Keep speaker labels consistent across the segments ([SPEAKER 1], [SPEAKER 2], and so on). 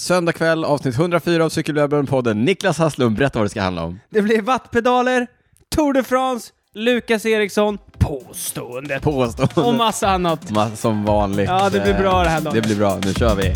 [SPEAKER 1] Söndag kväll, avsnitt 104 av Cykelwebben-podden. Niklas Hasslum, berätta vad det ska handla om.
[SPEAKER 2] Det blir wattpedaler, Tour de France, Lukas Eriksson, påstående
[SPEAKER 1] Påstående.
[SPEAKER 2] och massa annat.
[SPEAKER 1] Ma- Som vanligt.
[SPEAKER 2] Ja, det blir bra det här, Daniel.
[SPEAKER 1] Det blir bra. Nu kör vi.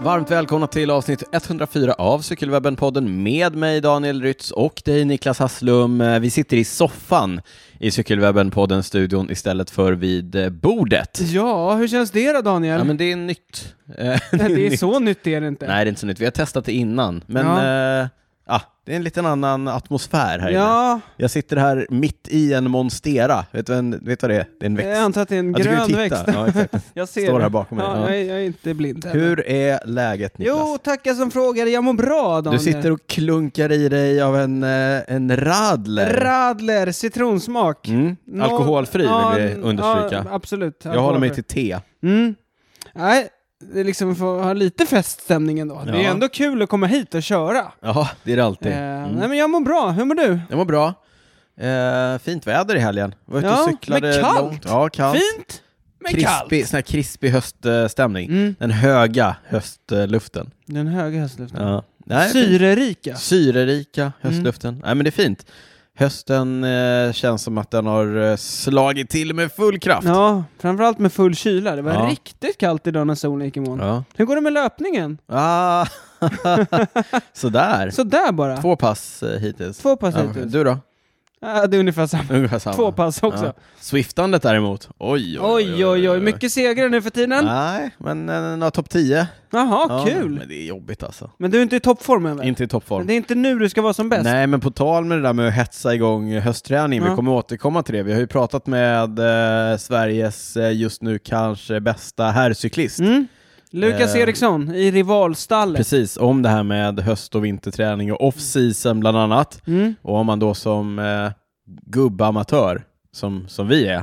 [SPEAKER 1] Varmt välkomna till avsnitt 104 av Cykelwebben-podden med mig Daniel Rytz och dig Niklas Hasslum. Eh, Vi sitter i soffan i Cykelwebben-podden-studion istället för vid eh, bordet.
[SPEAKER 2] Ja, hur känns det då Daniel?
[SPEAKER 1] Ja, men det är nytt. Eh,
[SPEAKER 2] det är
[SPEAKER 1] nytt.
[SPEAKER 2] så nytt är det inte.
[SPEAKER 1] Nej, det är inte så nytt. Vi har testat det innan, men eh, ah, det är en liten annan atmosfär här inne.
[SPEAKER 2] ja,
[SPEAKER 1] Jag sitter här mitt i en monstera. Vet du vad, en, vet du vad det är? Det är en växt.
[SPEAKER 2] jag antar att det är en
[SPEAKER 1] Ja, du kan ju
[SPEAKER 2] grön
[SPEAKER 1] titta.
[SPEAKER 2] växt.
[SPEAKER 1] Ja, exakt.
[SPEAKER 2] Jag ser
[SPEAKER 1] Står
[SPEAKER 2] det.
[SPEAKER 1] här bakom mig.
[SPEAKER 2] ja,
[SPEAKER 1] Ja.
[SPEAKER 2] Jag, är- jag är inte blind heller.
[SPEAKER 1] Hur är läget Niklas?
[SPEAKER 2] Jo, tacka som frågar. Jag mår bra
[SPEAKER 1] Du
[SPEAKER 2] Daniel.
[SPEAKER 1] sitter och klunkar i dig av en, eh, en radler.
[SPEAKER 2] Radler, citronsmak.
[SPEAKER 1] mm.
[SPEAKER 2] Nå-
[SPEAKER 1] Alkoholfri
[SPEAKER 2] ja,
[SPEAKER 1] vill vi understryka.
[SPEAKER 2] Ja, absolut.
[SPEAKER 1] jag håller mig till te.
[SPEAKER 2] Mm. Nej, det är liksom för att ha lite feststämning ändå. Det
[SPEAKER 1] Ja.
[SPEAKER 2] är ändå kul att komma hit och köra.
[SPEAKER 1] Ja, det är det alltid.
[SPEAKER 2] Eh,
[SPEAKER 1] Mm.
[SPEAKER 2] Nej men jag mår bra, hur mår du?
[SPEAKER 1] Jag mår bra. Eh, fint väder i helgen. Var ute
[SPEAKER 2] Ja,
[SPEAKER 1] och cyklade
[SPEAKER 2] men kallt.
[SPEAKER 1] långt. Ja, kallt.
[SPEAKER 2] Fint, men kallt.
[SPEAKER 1] Krispig, sån här krispig höststämning.
[SPEAKER 2] Mm.
[SPEAKER 1] Den höga höstluften.
[SPEAKER 2] Den höga höstluften.
[SPEAKER 1] Ja. Nej, fint.
[SPEAKER 2] Syrerika.
[SPEAKER 1] Syrerika höstluften.
[SPEAKER 2] Mm.
[SPEAKER 1] Nej, men det är fint. Hösten eh, känns som att den har eh, slagit till med full kraft.
[SPEAKER 2] Ja, framförallt med full kyla. Det var
[SPEAKER 1] Ja.
[SPEAKER 2] riktigt kallt idag när solen gick i moln.
[SPEAKER 1] Ja.
[SPEAKER 2] Hur går det med löpningen?
[SPEAKER 1] Ah, sådär.
[SPEAKER 2] Sådär bara. Två,
[SPEAKER 1] Två pass eh, hittills.
[SPEAKER 2] pass
[SPEAKER 1] Ja,
[SPEAKER 2] hittills.
[SPEAKER 1] Du då?
[SPEAKER 2] Ja, det är ungefär samma.
[SPEAKER 1] Ungefär samma.
[SPEAKER 2] Två pass också.
[SPEAKER 1] Ja. Swiftandet däremot. Oj,
[SPEAKER 2] Oj, oj, oj. Mycket segrar nu för tiden.
[SPEAKER 1] Nej, men eh, några topp 10.
[SPEAKER 2] Jaha,
[SPEAKER 1] Ja,
[SPEAKER 2] kul.
[SPEAKER 1] Men det är jobbigt alltså.
[SPEAKER 2] Men du är inte i toppformen väl?
[SPEAKER 1] Inte i toppform.
[SPEAKER 2] Men det är inte nu du ska vara som bäst.
[SPEAKER 1] Nej, men på tal med det där med att hetsa igång höstträningen, vi
[SPEAKER 2] Ja.
[SPEAKER 1] kommer återkomma till det. Vi har ju pratat med eh, Sveriges eh, just nu kanske bästa herrcyklist.
[SPEAKER 2] Mm. Lukas
[SPEAKER 1] Eh,
[SPEAKER 2] Eriksson i rivalstallet.
[SPEAKER 1] Precis, om det här med höst och vinterträning och off-season bland annat.
[SPEAKER 2] Mm.
[SPEAKER 1] Och om man då som eh, gubbamatör, som, som vi är,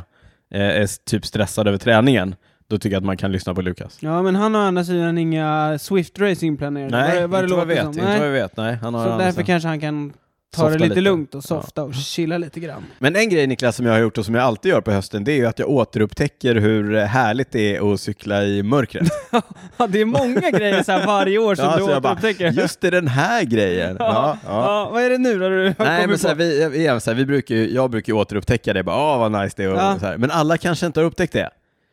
[SPEAKER 1] eh, är s- typ stressad över träningen, då tycker jag att man kan lyssna på Lukas.
[SPEAKER 2] Ja, men han har å andra sidan inga Swift Racing planerade.
[SPEAKER 1] Nej,
[SPEAKER 2] det- det
[SPEAKER 1] inte, vad
[SPEAKER 2] låter
[SPEAKER 1] jag vet,
[SPEAKER 2] som.
[SPEAKER 1] inte
[SPEAKER 2] Nej.
[SPEAKER 1] vad jag vet. Nej, han har
[SPEAKER 2] Så
[SPEAKER 1] en
[SPEAKER 2] därför
[SPEAKER 1] annan-
[SPEAKER 2] kanske han kan ta
[SPEAKER 1] Softa
[SPEAKER 2] det lite,
[SPEAKER 1] lite.
[SPEAKER 2] lugnt och softa och chilla lite grann.
[SPEAKER 1] Men en grej Niklas som jag har gjort och som jag alltid gör på hösten, det är ju att jag återupptäcker hur härligt det är att cykla i mörkret.
[SPEAKER 2] Ja, det är många grejer så här varje år som
[SPEAKER 1] Ja,
[SPEAKER 2] du
[SPEAKER 1] så jag bara,
[SPEAKER 2] återupptäcker.
[SPEAKER 1] Just det, den här grejen! Ja, ja.
[SPEAKER 2] Ja, vad är det nu då du har
[SPEAKER 1] Nej, men
[SPEAKER 2] kommit
[SPEAKER 1] så här,
[SPEAKER 2] på?
[SPEAKER 1] vi, jag- igen, så här, vi brukar ju, jag brukar ju återupptäcka det, bara åh vad nice det är, och,
[SPEAKER 2] Ja.
[SPEAKER 1] så här. men alla kanske inte har upptäckt det.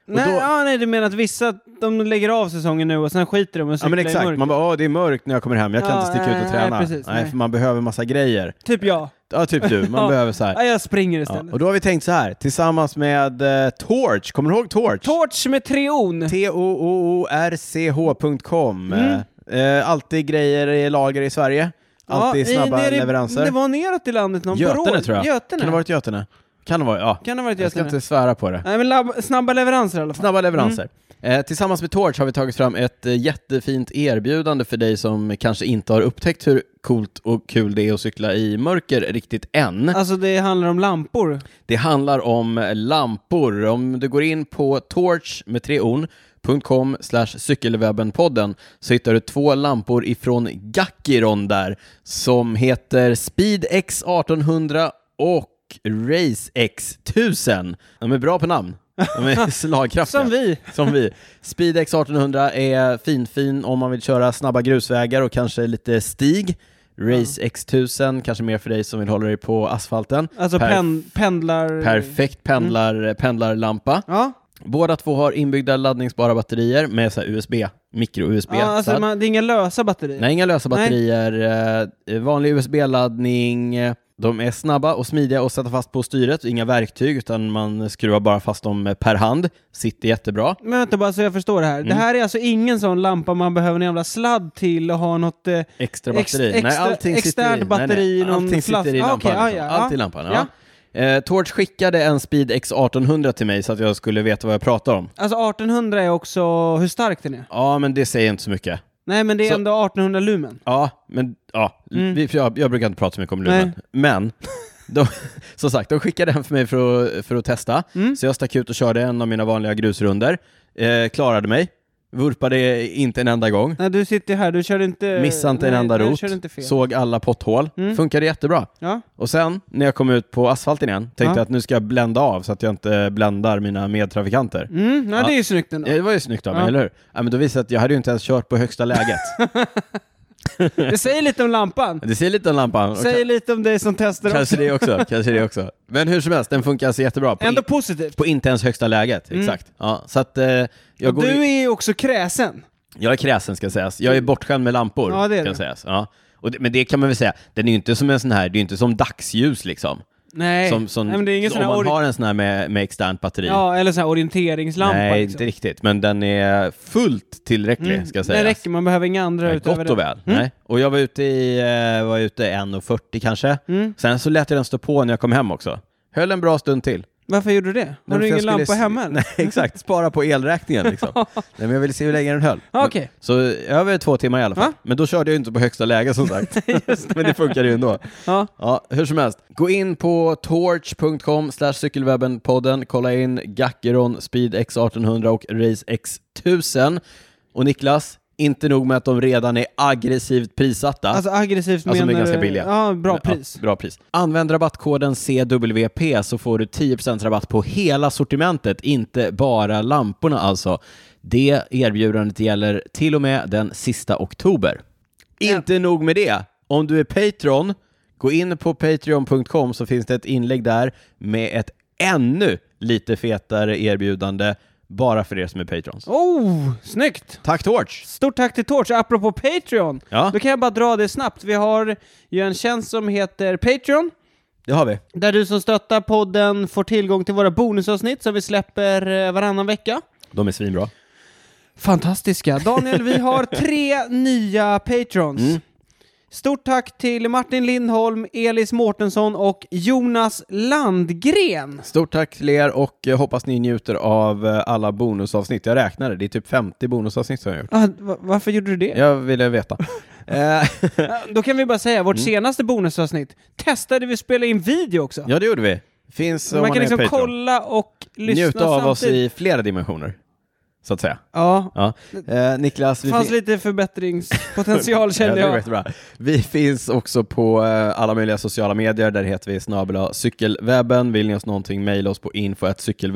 [SPEAKER 1] och
[SPEAKER 2] nej,
[SPEAKER 1] då-
[SPEAKER 2] ja, nej, du menar att vissa de lägger av säsongen nu och sen skiter de och
[SPEAKER 1] Ja
[SPEAKER 2] cyklar
[SPEAKER 1] men
[SPEAKER 2] i
[SPEAKER 1] exakt,
[SPEAKER 2] mörker.
[SPEAKER 1] man bara åh det är mörkt när jag kommer hem, jag kan
[SPEAKER 2] Ja,
[SPEAKER 1] inte sticka ut och
[SPEAKER 2] nej,
[SPEAKER 1] träna. Nej,
[SPEAKER 2] precis, nej.
[SPEAKER 1] för man behöver massa grejer.
[SPEAKER 2] Typ jag.
[SPEAKER 1] Ja, typ du, man
[SPEAKER 2] Ja.
[SPEAKER 1] behöver så här.
[SPEAKER 2] Ja, jag springer
[SPEAKER 1] Ja.
[SPEAKER 2] istället.
[SPEAKER 1] Och då har vi tänkt så här, tillsammans med eh, Torch, kommer du ihåg Torch?
[SPEAKER 2] Torch med treon.
[SPEAKER 1] T-O-O-O-R-C-H.com
[SPEAKER 2] Mm.
[SPEAKER 1] eh, Alltid grejer i lager i Sverige, alltid
[SPEAKER 2] Ja, i-
[SPEAKER 1] snabba
[SPEAKER 2] nere i-
[SPEAKER 1] leveranser.
[SPEAKER 2] Det var neråt i landet någon
[SPEAKER 1] Götene
[SPEAKER 2] Borås-
[SPEAKER 1] tror jag.
[SPEAKER 2] Götene.
[SPEAKER 1] Kan det ha varit Götene? Kan det vara, ja.
[SPEAKER 2] Kan det ha varit
[SPEAKER 1] Jag ska
[SPEAKER 2] Götene?
[SPEAKER 1] inte svära på det.
[SPEAKER 2] Nej, men lab- snabba leveranser i alla fall.
[SPEAKER 1] Snabba leveranser.
[SPEAKER 2] Mm.
[SPEAKER 1] Eh, tillsammans med Torch har vi tagit fram ett eh, jättefint erbjudande för dig som kanske inte har upptäckt hur coolt och kul det är att cykla i mörker riktigt än.
[SPEAKER 2] Alltså det handlar om lampor.
[SPEAKER 1] Det handlar om eh, lampor. Om du går in på torch med tre orn.com slash cykelwebbenpodden så hittar du två lampor ifrån Gackiron där som heter Speed X 1800 och Race X 1000. De är bra på namn. De är slagkraftiga.
[SPEAKER 2] Som vi.
[SPEAKER 1] Som vi. SpeedX 1800 är finfin om man vill köra snabba grusvägar och kanske lite stig. Race X1000 kanske mer för dig som vill hålla dig på asfalten.
[SPEAKER 2] Alltså
[SPEAKER 1] Per-
[SPEAKER 2] pen- pendlar...
[SPEAKER 1] Perfekt
[SPEAKER 2] Mm.
[SPEAKER 1] pendlar, pendlarlampa.
[SPEAKER 2] Ja,
[SPEAKER 1] Båda två har inbyggda laddningsbara batterier med så här USB, mikro-USB.
[SPEAKER 2] ja alltså man, det är inga lösa batterier.
[SPEAKER 1] Nej, inga lösa
[SPEAKER 2] Nej.
[SPEAKER 1] batterier. eh, Vanlig USB-laddning. eh, De är snabba och smidiga att sätta fast på styret. Inga verktyg, utan man skruvar bara fast dem eh, per hand. Sitter jättebra.
[SPEAKER 2] Men vänta bara så jag förstår det här.
[SPEAKER 1] Mm.
[SPEAKER 2] Det här är alltså ingen sån lampa man behöver en jävla sladd till och ha något... Eh,
[SPEAKER 1] Extra
[SPEAKER 2] Ex-
[SPEAKER 1] batteri? nej,
[SPEAKER 2] extra-
[SPEAKER 1] allting sitter i.
[SPEAKER 2] externt batteri
[SPEAKER 1] nej,
[SPEAKER 2] i
[SPEAKER 1] nej.
[SPEAKER 2] någon
[SPEAKER 1] Allting
[SPEAKER 2] flask-
[SPEAKER 1] sitter i
[SPEAKER 2] Ah,
[SPEAKER 1] lampan.
[SPEAKER 2] okej,
[SPEAKER 1] liksom.
[SPEAKER 2] ja, ja,
[SPEAKER 1] Allt
[SPEAKER 2] ja.
[SPEAKER 1] i lampan, ja. Eh, Torch skickade en Speed X 1800 till mig så att jag skulle veta vad jag pratar om.
[SPEAKER 2] alltså 1800 är också hur stark den är.
[SPEAKER 1] Ja, men det säger inte så mycket.
[SPEAKER 2] Nej, men det är
[SPEAKER 1] Så-
[SPEAKER 2] ändå 1800 lumen.
[SPEAKER 1] Ja, men ja,
[SPEAKER 2] Mm.
[SPEAKER 1] vi, för jag, jag brukar inte prata så mycket om lumen. Men, de, som sagt, de skickade den för mig för att, för att testa.
[SPEAKER 2] Mm.
[SPEAKER 1] Så jag stack ut och körde en av mina vanliga grusrunder. Eh, klarade mig. Vurpade inte en enda gång.
[SPEAKER 2] Nej, du sitter här, du kör inte...
[SPEAKER 1] Missade inte
[SPEAKER 2] Eh, nej,
[SPEAKER 1] en enda
[SPEAKER 2] nej, du
[SPEAKER 1] rot.
[SPEAKER 2] Kör inte fel.
[SPEAKER 1] Såg alla potthål.
[SPEAKER 2] Mm.
[SPEAKER 1] Funkade jättebra.
[SPEAKER 2] Ja.
[SPEAKER 1] Och sen när jag kom ut på asfalten igen tänkte
[SPEAKER 2] Ja.
[SPEAKER 1] jag att nu ska jag blända av så att jag inte bländar mina medtrafikanter.
[SPEAKER 2] Mm, nej,
[SPEAKER 1] Ja.
[SPEAKER 2] det är ju snyggt ändå.
[SPEAKER 1] Ja, Det var ju snyggt av mig,
[SPEAKER 2] Ja.
[SPEAKER 1] eller hur? Ja, men då visade det att jag hade ju inte ens kört på högsta läget.
[SPEAKER 2] Det säger lite om lampan.
[SPEAKER 1] det ser lite om lampan. Och
[SPEAKER 2] Säger
[SPEAKER 1] ka-
[SPEAKER 2] lite om dig som testar också.
[SPEAKER 1] kanske det också. Kanske det också. Men hur som helst, den funkar alltså jättebra. På,
[SPEAKER 2] Ändå
[SPEAKER 1] in,
[SPEAKER 2] positivt.
[SPEAKER 1] på inte ens högsta läget.
[SPEAKER 2] Mm.
[SPEAKER 1] Exakt. Ja, så att, eh, jag, går
[SPEAKER 2] Du
[SPEAKER 1] ju,
[SPEAKER 2] är ju också kräsen.
[SPEAKER 1] jag är kräsen ska sägas. Jag är bortskämd med lampor.
[SPEAKER 2] Ja, det är
[SPEAKER 1] ska
[SPEAKER 2] det.
[SPEAKER 1] sägas. Ja. Och det, men det kan man väl säga, den är ju inte som en sån här, det är ju inte som dagsljus liksom.
[SPEAKER 2] Nej,
[SPEAKER 1] Som, som,
[SPEAKER 2] nej men det är ingen sån
[SPEAKER 1] om
[SPEAKER 2] här,
[SPEAKER 1] man
[SPEAKER 2] ori-
[SPEAKER 1] har en sån här med, med externt batteri.
[SPEAKER 2] ja, eller sån här orienteringslampa.
[SPEAKER 1] Nej,
[SPEAKER 2] liksom.
[SPEAKER 1] inte riktigt. Men den är fullt tillräcklig,
[SPEAKER 2] Mm,
[SPEAKER 1] ska
[SPEAKER 2] Det
[SPEAKER 1] sägas.
[SPEAKER 2] räcker, man behöver inga andra
[SPEAKER 1] Nej,
[SPEAKER 2] utöver
[SPEAKER 1] gott och
[SPEAKER 2] det. Mm.
[SPEAKER 1] väl. Nej. Och jag var ute i eh, var ute 1.40 kanske.
[SPEAKER 2] Mm.
[SPEAKER 1] Sen så lät jag den stå på när jag kom hem också. Höll en bra stund till.
[SPEAKER 2] Varför gjorde du det? Har
[SPEAKER 1] Men för
[SPEAKER 2] du
[SPEAKER 1] jag
[SPEAKER 2] ingen
[SPEAKER 1] skulle
[SPEAKER 2] lampa
[SPEAKER 1] se-
[SPEAKER 2] hemma eller?
[SPEAKER 1] Nej, exakt. Spara på elräkningen liksom. Nej, men jag ville se hur länge den höll. Men-
[SPEAKER 2] Okej.
[SPEAKER 1] Så över två timmar i alla fall.
[SPEAKER 2] Ja.
[SPEAKER 1] Men då körde jag ju inte på högsta läge som sagt. men det funkade ju ändå.
[SPEAKER 2] Ja.
[SPEAKER 1] Ja, hur som helst. Gå in på torch.com slash cykelwebbenpodden. Kolla in Gackeron Speed X1800 och Race X1000. Och Niklas, inte nog med att de redan är aggressivt prissatta.
[SPEAKER 2] Alltså aggressivt
[SPEAKER 1] Alltså, de är
[SPEAKER 2] menar
[SPEAKER 1] ganska
[SPEAKER 2] du...
[SPEAKER 1] billiga.
[SPEAKER 2] Ja, bra
[SPEAKER 1] Ja,
[SPEAKER 2] pris.
[SPEAKER 1] bra pris. Använd rabattkoden CWP så får du 10% rabatt på hela sortimentet, inte bara lamporna alltså. Det erbjudandet gäller till och med den sista oktober. Inte nog med det. Om du är Patreon, gå in på patreon.com så finns det ett inlägg där med ett ännu lite fetare erbjudande bara för er som är Patrons.
[SPEAKER 2] Oh, snyggt!
[SPEAKER 1] Tack Torch!
[SPEAKER 2] Stort tack till Torch. Apropå Patreon,
[SPEAKER 1] Ja,
[SPEAKER 2] då kan jag bara dra det snabbt. Vi har ju en tjänst som heter Patreon,
[SPEAKER 1] det har vi.
[SPEAKER 2] där du som stöttar podden får tillgång till våra bonusavsnitt som vi släpper eh, varannan vecka.
[SPEAKER 1] De är svinbra.
[SPEAKER 2] Fantastiska. Daniel, vi har tre nya patrons.
[SPEAKER 1] Mm.
[SPEAKER 2] Stort tack till Martin Lindholm, Elis Mårtensson och Jonas Landgren.
[SPEAKER 1] Stort tack till er och eh, hoppas ni njuter av eh, alla bonusavsnitt. Jag räknade, det är typ 50 bonusavsnitt som jag har gjort.
[SPEAKER 2] Ah, va- varför gjorde du det?
[SPEAKER 1] Jag ville veta. Eh,
[SPEAKER 2] Ah, Då kan vi bara säga,
[SPEAKER 1] Mm.
[SPEAKER 2] vårt senaste bonusavsnitt testade vi att spela in video också.
[SPEAKER 1] ja, det gjorde vi. Finns om
[SPEAKER 2] man kan
[SPEAKER 1] är
[SPEAKER 2] liksom
[SPEAKER 1] Patreon.
[SPEAKER 2] kolla och lyssna
[SPEAKER 1] Njuta av oss
[SPEAKER 2] samtidigt.
[SPEAKER 1] i flera dimensioner, så att säga.
[SPEAKER 2] Ja,
[SPEAKER 1] Ja. Eh, Niklas,
[SPEAKER 2] det
[SPEAKER 1] vi
[SPEAKER 2] fanns
[SPEAKER 1] fin-
[SPEAKER 2] lite förbättringspotential
[SPEAKER 1] Ja,
[SPEAKER 2] kände
[SPEAKER 1] det var
[SPEAKER 2] jag.
[SPEAKER 1] jättebra. Vi finns också på eh, alla möjliga sociala medier. Där heter vi snabel-a cykelwebben. Vill ni oss någonting, mejla oss på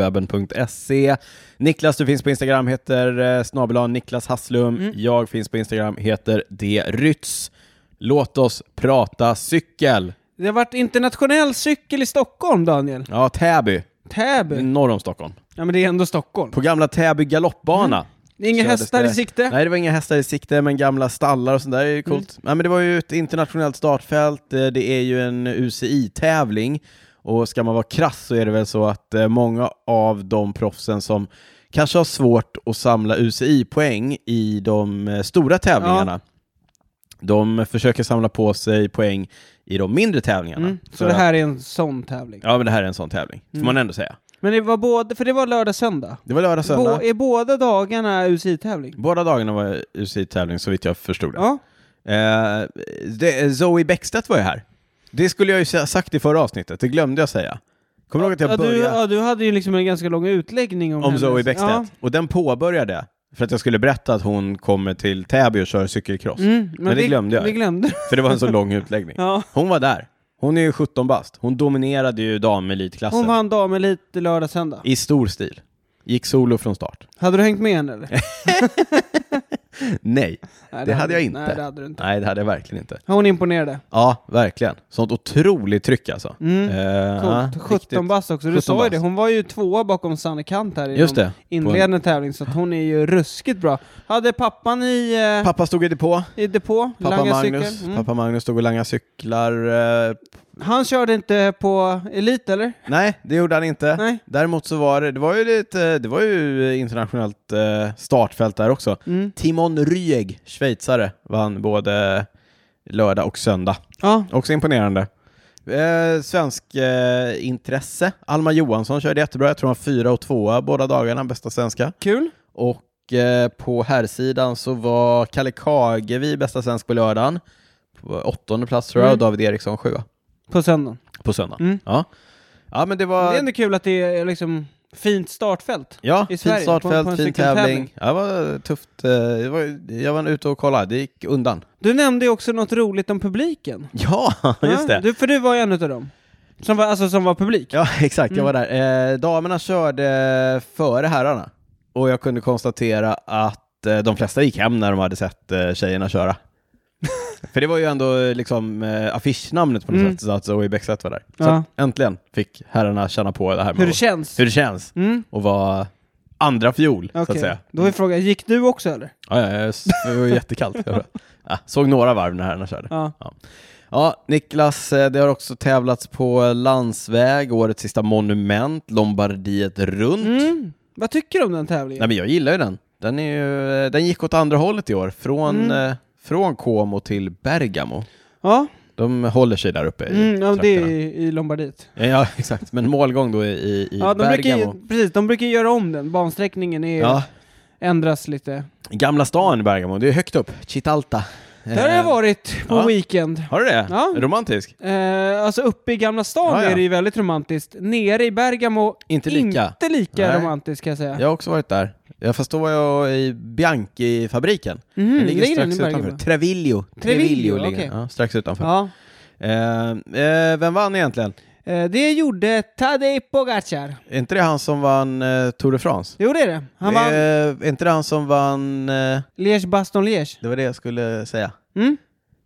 [SPEAKER 1] info.cykelwebben.se. Niklas, du finns på Instagram, heter eh, snabel-a Niklas Hasslum. Jag finns på Instagram, heter D. Rytz. Låt oss prata cykel.
[SPEAKER 2] Det har varit internationell cykel i Stockholm, Daniel.
[SPEAKER 1] Ja, Täby.
[SPEAKER 2] Täby.
[SPEAKER 1] Norr om Stockholm.
[SPEAKER 2] Ja, men det är ändå Stockholm.
[SPEAKER 1] Mm. På gamla Täby galoppbana.
[SPEAKER 2] Det är Inga
[SPEAKER 1] kördes
[SPEAKER 2] hästar
[SPEAKER 1] det.
[SPEAKER 2] i sikte. Mm.
[SPEAKER 1] Nej, det var inga hästar i sikte, men gamla stallar och sånt där är ju coolt. Nej, men det var ju ett internationellt startfält, eh, det är ju en UCI-tävling och ska man vara krass så är det väl så att eh, många av de proffsen som kanske har svårt att samla UCI-poäng i de eh, stora tävlingarna, de försöker samla på sig poäng i de mindre tävlingarna.
[SPEAKER 2] Mm. Så
[SPEAKER 1] För
[SPEAKER 2] det
[SPEAKER 1] att-
[SPEAKER 2] här Mm. är en sån tävling.
[SPEAKER 1] Ja, men det här är en sån tävling, får man ändå säga.
[SPEAKER 2] Men det var både, för det var lördag söndag.
[SPEAKER 1] Det var lördag, söndag.
[SPEAKER 2] Bå, är båda dagarna UCI-tävling?
[SPEAKER 1] Båda dagarna var UCI-tävling, så vitt jag förstod det.
[SPEAKER 2] Ja.
[SPEAKER 1] Eh, det, Zoe Bäckstedt var ju här. Det skulle jag ju ha sagt i förra avsnittet, det glömde jag säga. Kommer du ihåg att jag
[SPEAKER 2] Ja, du,
[SPEAKER 1] började
[SPEAKER 2] ja, du hade ju liksom en ganska lång utläggning om
[SPEAKER 1] om
[SPEAKER 2] hennes-
[SPEAKER 1] Zoe Bäckstedt?
[SPEAKER 2] Ja.
[SPEAKER 1] Och den påbörjade för att jag skulle berätta att hon kommer till Täby och kör cykelcross.
[SPEAKER 2] Mm, men,
[SPEAKER 1] det glömde jag.
[SPEAKER 2] Det glömde
[SPEAKER 1] För det var en så lång utläggning.
[SPEAKER 2] Ja.
[SPEAKER 1] Hon var där. Hon är ju 17 bast. Hon dominerade ju damelitklassen.
[SPEAKER 2] Hon vann damelit lördag söndag.
[SPEAKER 1] I stor stil. Gick solo från start.
[SPEAKER 2] Hade du hängt med henne eller?
[SPEAKER 1] Nej,
[SPEAKER 2] Nej,
[SPEAKER 1] det hade jag
[SPEAKER 2] du-
[SPEAKER 1] inte.
[SPEAKER 2] Nej, det hade du inte.
[SPEAKER 1] Nej, det hade jag verkligen inte.
[SPEAKER 2] Hon imponerade.
[SPEAKER 1] Ja, verkligen. Sånt otroligt tryck alltså.
[SPEAKER 2] Mm.
[SPEAKER 1] Eh, ja,
[SPEAKER 2] Coolt.
[SPEAKER 1] riktigt.
[SPEAKER 2] 17 bast också. Du
[SPEAKER 1] 17
[SPEAKER 2] sa ju det,
[SPEAKER 1] bast.
[SPEAKER 2] hon var ju tvåa bakom Sanne Kant här i
[SPEAKER 1] Just
[SPEAKER 2] någon
[SPEAKER 1] det.
[SPEAKER 2] inledande tävling, så att hon är ju ruskigt bra. Hade pappan i, eh,
[SPEAKER 1] Pappa stod i depå.
[SPEAKER 2] i depå,
[SPEAKER 1] Pappa
[SPEAKER 2] langade
[SPEAKER 1] Magnus,
[SPEAKER 2] cykel. Mm.
[SPEAKER 1] pappa Magnus stod och langade cyklar. eh,
[SPEAKER 2] Han körde inte på elit eller?
[SPEAKER 1] Nej, det gjorde han inte.
[SPEAKER 2] Nej.
[SPEAKER 1] Däremot så var det, det var ju lite, det var ju internationellt eh, startfält där också.
[SPEAKER 2] Mm.
[SPEAKER 1] Timon Ryeg, schweizare, vann både lördag och söndag.
[SPEAKER 2] Ja,
[SPEAKER 1] Också imponerande. Eh, svensk eh, intresse. Alma Johansson körde jättebra. Jag tror hon var fyra och tvåa båda dagarna, bästa svenska.
[SPEAKER 2] kul.
[SPEAKER 1] Och Och eh, på herrsidan så var Kalle Kagevi bästa svensk på lördagen. På åttonde plats tror jag,
[SPEAKER 2] Mm.
[SPEAKER 1] och David Eriksson sjua.
[SPEAKER 2] på söndagen.
[SPEAKER 1] På söndagen.
[SPEAKER 2] Mm.
[SPEAKER 1] Ja. ja, men det
[SPEAKER 2] Det
[SPEAKER 1] var...
[SPEAKER 2] är ändå kul att det är liksom fint startfält.
[SPEAKER 1] Ja,
[SPEAKER 2] i
[SPEAKER 1] fint
[SPEAKER 2] Sverige, på-
[SPEAKER 1] startfält,
[SPEAKER 2] på en
[SPEAKER 1] fin
[SPEAKER 2] cykeltävling.
[SPEAKER 1] tävling. Ja, det var tufft. eh, det var- Jag var ute och kollade, det gick undan.
[SPEAKER 2] Du nämnde ju också något roligt om publiken.
[SPEAKER 1] Ja,
[SPEAKER 2] Ja,
[SPEAKER 1] just det.
[SPEAKER 2] Du, för du var ju en av dem. Som var, alltså som var publik.
[SPEAKER 1] Ja, exakt. Jag var
[SPEAKER 2] Mm.
[SPEAKER 1] där. Eh, damerna körde före herrarna och jag kunde konstatera att eh, de flesta gick hem när de hade sett eh, tjejerna köra. För det var ju ändå eh, liksom eh, affischnamnet på något
[SPEAKER 2] Mm.
[SPEAKER 1] sätt, så att Zoe Bexett var där. Så
[SPEAKER 2] Ja.
[SPEAKER 1] att äntligen fick herrarna känna på det här med
[SPEAKER 2] Hur det
[SPEAKER 1] att-
[SPEAKER 2] känns.
[SPEAKER 1] hur det känns
[SPEAKER 2] Mm.
[SPEAKER 1] och vara andra fjol, så att
[SPEAKER 2] okej.
[SPEAKER 1] säga. Mm.
[SPEAKER 2] Då är frågan, gick du också eller?
[SPEAKER 1] Ja, ja, ja, s- det var ju jättekallt. Jag bara, ja, såg några varv när herrarna körde.
[SPEAKER 2] Ja.
[SPEAKER 1] Ja, Niklas, eh, det har också tävlats på landsväg, årets sista monument, Lombardiet runt.
[SPEAKER 2] Mm. Vad tycker du om den
[SPEAKER 1] Nej
[SPEAKER 2] tävlingen?
[SPEAKER 1] men jag gillar ju den. Den, är ju, eh, den gick åt andra hållet i år, från,
[SPEAKER 2] Mm.
[SPEAKER 1] eh, från Como till Bergamo.
[SPEAKER 2] Ja,
[SPEAKER 1] De håller sig där uppe i
[SPEAKER 2] mm, ja det är
[SPEAKER 1] trakterna.
[SPEAKER 2] i, i Lombardiet.
[SPEAKER 1] Ja, ja, exakt. Men målgång då i, i i
[SPEAKER 2] Ja, de brukar,
[SPEAKER 1] Bergamo.
[SPEAKER 2] ju, precis, de brukar ju göra om den. Bansträckningen är,
[SPEAKER 1] Ja, Eh.
[SPEAKER 2] ändras lite.
[SPEAKER 1] gamla stan i Bergamo, det är högt upp. Chitalta.
[SPEAKER 2] Där har jag varit på
[SPEAKER 1] ja.
[SPEAKER 2] weekend.
[SPEAKER 1] Har du det?
[SPEAKER 2] Ja.
[SPEAKER 1] Romantisk?
[SPEAKER 2] Eh, alltså uppe i Gamla stan
[SPEAKER 1] Ja, ja.
[SPEAKER 2] är det ju väldigt romantiskt. Nere i Bergamo,
[SPEAKER 1] Inte lika.
[SPEAKER 2] inte lika
[SPEAKER 1] Nej.
[SPEAKER 2] romantiskt kan jag säga.
[SPEAKER 1] Jag har också varit där. Jag förstår var jag i Bianchi-fabriken.
[SPEAKER 2] Mhm,
[SPEAKER 1] den ligger
[SPEAKER 2] den
[SPEAKER 1] strax
[SPEAKER 2] i Bergamo?
[SPEAKER 1] utanför. Treviglio.
[SPEAKER 2] Treviglio,
[SPEAKER 1] ligger-
[SPEAKER 2] okej.
[SPEAKER 1] ja, strax utanför.
[SPEAKER 2] Ja.
[SPEAKER 1] Eh, eh, vem vann egentligen?
[SPEAKER 2] Eh, det gjorde Tadej Pogacar.
[SPEAKER 1] Är inte det han som vann eh, Tour de France?
[SPEAKER 2] Jo, det är det. Han vann
[SPEAKER 1] Eh, är inte det han som vann... Eh,
[SPEAKER 2] Liège Baston Liège.
[SPEAKER 1] det var det jag skulle säga.
[SPEAKER 2] Mm?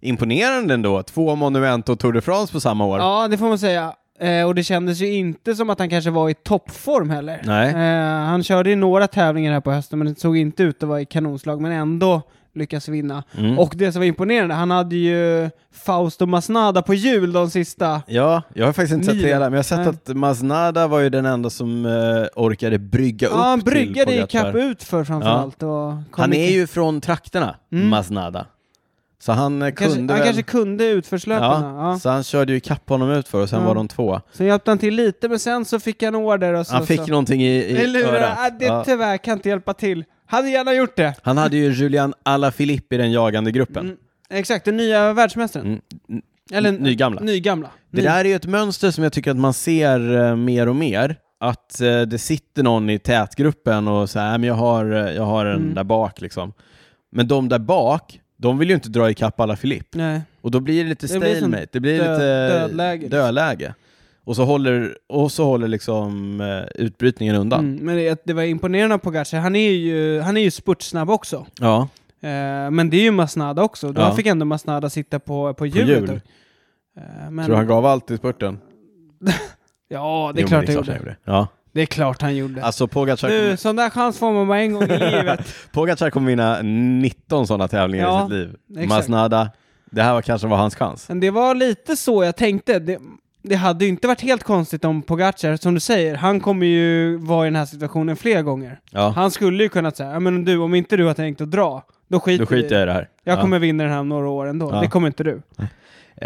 [SPEAKER 1] Imponerande ändå, två monument och Tour de France på samma år.
[SPEAKER 2] Ja, det får man säga. Eh, och det kändes ju inte som att han kanske var i toppform heller.
[SPEAKER 1] Nej.
[SPEAKER 2] Eh, han körde ju några tävlingar här på hösten, men det såg inte ut att vara i kanonslag, men ändå lyckas vinna.
[SPEAKER 1] Mm.
[SPEAKER 2] Och det som var imponerande, han hade ju Fausto Masnada på jul de sista.
[SPEAKER 1] Ja, jag har faktiskt inte sett
[SPEAKER 2] Milen.
[SPEAKER 1] det hela, men jag har sett
[SPEAKER 2] Nej.
[SPEAKER 1] att Masnada var ju den enda som eh, orkade brygga
[SPEAKER 2] Ja, han
[SPEAKER 1] upp
[SPEAKER 2] bryggade
[SPEAKER 1] till
[SPEAKER 2] i
[SPEAKER 1] Pogacar.
[SPEAKER 2] kapp ut för framförallt. Och kom
[SPEAKER 1] Han är
[SPEAKER 2] i-
[SPEAKER 1] ju från trakterna,
[SPEAKER 2] Mm.
[SPEAKER 1] Masnada. Så han eh, kunde
[SPEAKER 2] kanske, Han
[SPEAKER 1] väl...
[SPEAKER 2] kanske kunde utförslöparna.
[SPEAKER 1] ja,
[SPEAKER 2] Ja.
[SPEAKER 1] Så han körde ju kapp honom ut för och sen
[SPEAKER 2] Ja.
[SPEAKER 1] var de två.
[SPEAKER 2] Sen hjälpte han till lite, men sen så fick han order och så...
[SPEAKER 1] Han fick
[SPEAKER 2] så.
[SPEAKER 1] någonting i,
[SPEAKER 2] Det
[SPEAKER 1] i
[SPEAKER 2] lurar.
[SPEAKER 1] örat.
[SPEAKER 2] Ja, det
[SPEAKER 1] Ja.
[SPEAKER 2] tyvärr kan inte hjälpa till. Hade gärna gjort det.
[SPEAKER 1] Han hade ju Julian Alaphilippe i den jagande gruppen.
[SPEAKER 2] Mm. Exakt, den nya världsmästaren.
[SPEAKER 1] Mm. N-
[SPEAKER 2] Eller
[SPEAKER 1] n- nygamla.
[SPEAKER 2] Nygamla.
[SPEAKER 1] Det där är ju ett mönster som jag tycker att man ser eh, mer och mer. Att eh, det sitter någon i tätgruppen och säger men jag har, eh, jag har en
[SPEAKER 2] Mm.
[SPEAKER 1] där bak liksom. Men de där bak, de vill ju inte dra ikapp alla Filipp.
[SPEAKER 2] Nej.
[SPEAKER 1] Och då blir det lite
[SPEAKER 2] Det blir som
[SPEAKER 1] stalemate, det blir
[SPEAKER 2] dö-
[SPEAKER 1] lite
[SPEAKER 2] dödläge, liksom.
[SPEAKER 1] dödläge. Och så håller, och så håller liksom eh, utbrytningen undan.
[SPEAKER 2] Mm. Men det, det var imponerande av Pogacar. Han är ju, han är ju spurtsnabb också.
[SPEAKER 1] Ja.
[SPEAKER 2] Eh, men det är ju Masnada också. Då
[SPEAKER 1] Ja.
[SPEAKER 2] fick ändå Masnada sitta på, på
[SPEAKER 1] På
[SPEAKER 2] hjulet.
[SPEAKER 1] jul.
[SPEAKER 2] då. Eh, men,
[SPEAKER 1] Tror du han gav allt i spurten?
[SPEAKER 2] Ja, det är
[SPEAKER 1] Jo, men
[SPEAKER 2] klart han
[SPEAKER 1] han
[SPEAKER 2] gjorde.
[SPEAKER 1] gjorde. Ja.
[SPEAKER 2] Det är klart han gjorde.
[SPEAKER 1] Alltså Pogacar,
[SPEAKER 2] du, sån där chans får man bara en gång i livet.
[SPEAKER 1] Pogacar kommer vinna 19 sådana tävlingar
[SPEAKER 2] Ja,
[SPEAKER 1] i sitt liv.
[SPEAKER 2] exakt.
[SPEAKER 1] Masnada, det här var kanske var hans chans.
[SPEAKER 2] Men det var lite så jag tänkte. Det, det hade ju inte varit helt konstigt om Pogacar, som du säger, han kommer ju vara i den här situationen fler gånger.
[SPEAKER 1] Ja.
[SPEAKER 2] Han skulle ju kunnat säga, "Ja, men du, om inte du har tänkt att dra, då skiter,
[SPEAKER 1] Då skiter jag i det här.
[SPEAKER 2] jag kommer vinna den här om några år ändå.
[SPEAKER 1] Ja.
[SPEAKER 2] Det kommer inte du.
[SPEAKER 1] ja.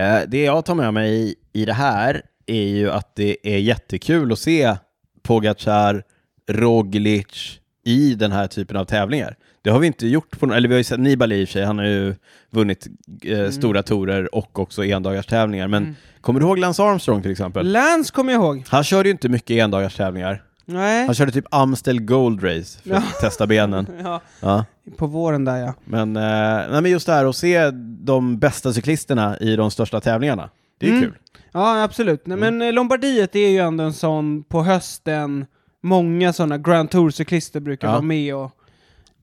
[SPEAKER 1] Eh, Det jag tar med mig i, i det här är ju att det är jättekul att se Pogacar, Roglic i den här typen av tävlingar. Det har vi inte gjort på no- eller vi har ju sett Nibali i och för sig, han har ju vunnit eh, stora torer och också endagarstävlingar. Men kommer du ihåg Lance Armstrong till exempel?
[SPEAKER 2] Lance kommer jag ihåg.
[SPEAKER 1] Han körde ju inte mycket endagarstävlingar.
[SPEAKER 2] Nej.
[SPEAKER 1] Han körde typ Amstel Gold Race för att testa benen.
[SPEAKER 2] Ja,
[SPEAKER 1] Ja.
[SPEAKER 2] på våren där ja.
[SPEAKER 1] Men, eh, nej, men just det här att se de bästa cyklisterna i de största tävlingarna, det är ju
[SPEAKER 2] Mm.
[SPEAKER 1] kul.
[SPEAKER 2] Ja, absolut. Nej,
[SPEAKER 1] Mm.
[SPEAKER 2] Men eh, Lombardiet är ju ändå en sån på hösten. Många sådana Grand Tour-cyklister brukar
[SPEAKER 1] Ja.
[SPEAKER 2] vara med och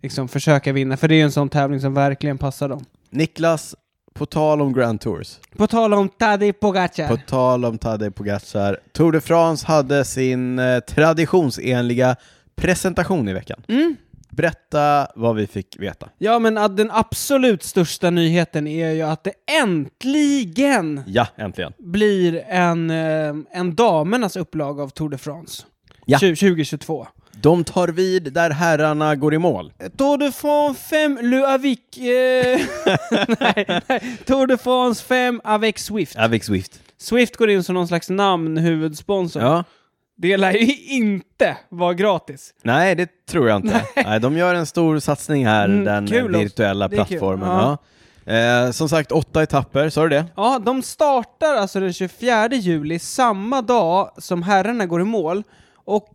[SPEAKER 2] liksom försöka vinna, för det är ju en sån tävling som verkligen passar dem.
[SPEAKER 1] Niklas, på tal om Grand Tours,
[SPEAKER 2] På tal om Tadej Pogacar.
[SPEAKER 1] på tal om Tadej Pogacar, Tour de France hade sin eh, traditionsenliga presentation i veckan.
[SPEAKER 2] Mm.
[SPEAKER 1] Berätta vad vi fick veta.
[SPEAKER 2] Ja, men att den absolut största nyheten är ju att det äntligen
[SPEAKER 1] Ja, äntligen.
[SPEAKER 2] blir en, eh, en damernas upplaga av Tour de France.
[SPEAKER 1] Ja.
[SPEAKER 2] 20- 2022.
[SPEAKER 1] De tar vid där herrarna går i mål.
[SPEAKER 2] Tour de France 5, Le Avec... Eh, nej, nej. Tour de France 5 avec Swift.
[SPEAKER 1] Avec Swift.
[SPEAKER 2] Swift går in som någon slags namnhuvudsponsor.
[SPEAKER 1] Ja.
[SPEAKER 2] Det lär ju inte vara gratis.
[SPEAKER 1] Nej, det tror jag inte. Nej, de gör en stor satsning här,
[SPEAKER 2] Mm,
[SPEAKER 1] den
[SPEAKER 2] kul också.
[SPEAKER 1] virtuella
[SPEAKER 2] Det är kul.
[SPEAKER 1] plattformen.
[SPEAKER 2] Ja.
[SPEAKER 1] Ja. Eh, som sagt, åtta etapper, sa du det?
[SPEAKER 2] Ja, de startar alltså den 24 juli, samma dag som herrarna går i mål. Och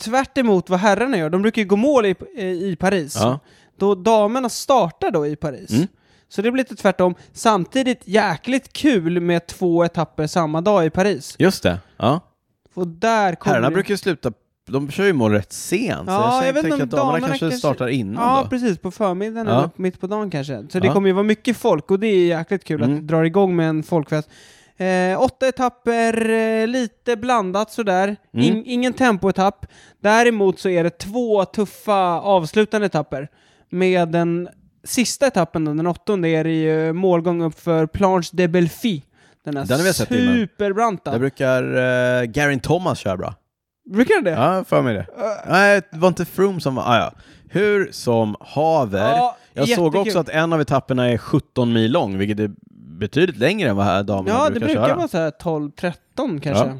[SPEAKER 2] tvärt emot vad herrarna gör, de brukar ju gå mål i, i Paris.
[SPEAKER 1] Ja.
[SPEAKER 2] Då damerna startar då i Paris.
[SPEAKER 1] Mm.
[SPEAKER 2] Så det blir lite tvärtom. Samtidigt jäkligt kul med två etapper samma dag i Paris.
[SPEAKER 1] Just det. Ja.
[SPEAKER 2] Och där kommer
[SPEAKER 1] Herrarna
[SPEAKER 2] det-
[SPEAKER 1] brukar ju sluta, de kör ju mål rätt sent,
[SPEAKER 2] Ja,
[SPEAKER 1] så jag,
[SPEAKER 2] jag vet
[SPEAKER 1] tänker att
[SPEAKER 2] inte om
[SPEAKER 1] damerna
[SPEAKER 2] damerna
[SPEAKER 1] kanske,
[SPEAKER 2] kanske-
[SPEAKER 1] startar innan
[SPEAKER 2] Ja,
[SPEAKER 1] då.
[SPEAKER 2] precis. På förmiddagen
[SPEAKER 1] Ja.
[SPEAKER 2] eller på- mitt på dagen kanske. Så det
[SPEAKER 1] Ja.
[SPEAKER 2] kommer ju vara mycket folk och det är jäkligt kul att
[SPEAKER 1] Mm.
[SPEAKER 2] dra igång med en folkfest. Eh, åtta etapper, eh, lite blandat sådär. In,
[SPEAKER 1] Mm.
[SPEAKER 2] Ingen tempoetapp. Däremot så är det två tuffa avslutande etapper. Med den sista etappen, då, den åttonde, är det ju målgång upp för Planche de Belfi. Den är
[SPEAKER 1] Den har vi sett innan.
[SPEAKER 2] superbranta.
[SPEAKER 1] Där brukar eh, Garin Thomas köra bra.
[SPEAKER 2] Brukar den det?
[SPEAKER 1] Ja, för mig det. Nej, det var inte Froome som var... Ah, ja. Hur som haver.
[SPEAKER 2] Ja,
[SPEAKER 1] jag såg
[SPEAKER 2] jättekul.
[SPEAKER 1] också att en av etapperna är 17 mil lång, vilket är betydligt längre än vad här damerna
[SPEAKER 2] Ja, det
[SPEAKER 1] brukar,
[SPEAKER 2] brukar
[SPEAKER 1] köra.
[SPEAKER 2] vara såhär 12-13 kanske.
[SPEAKER 1] Ja.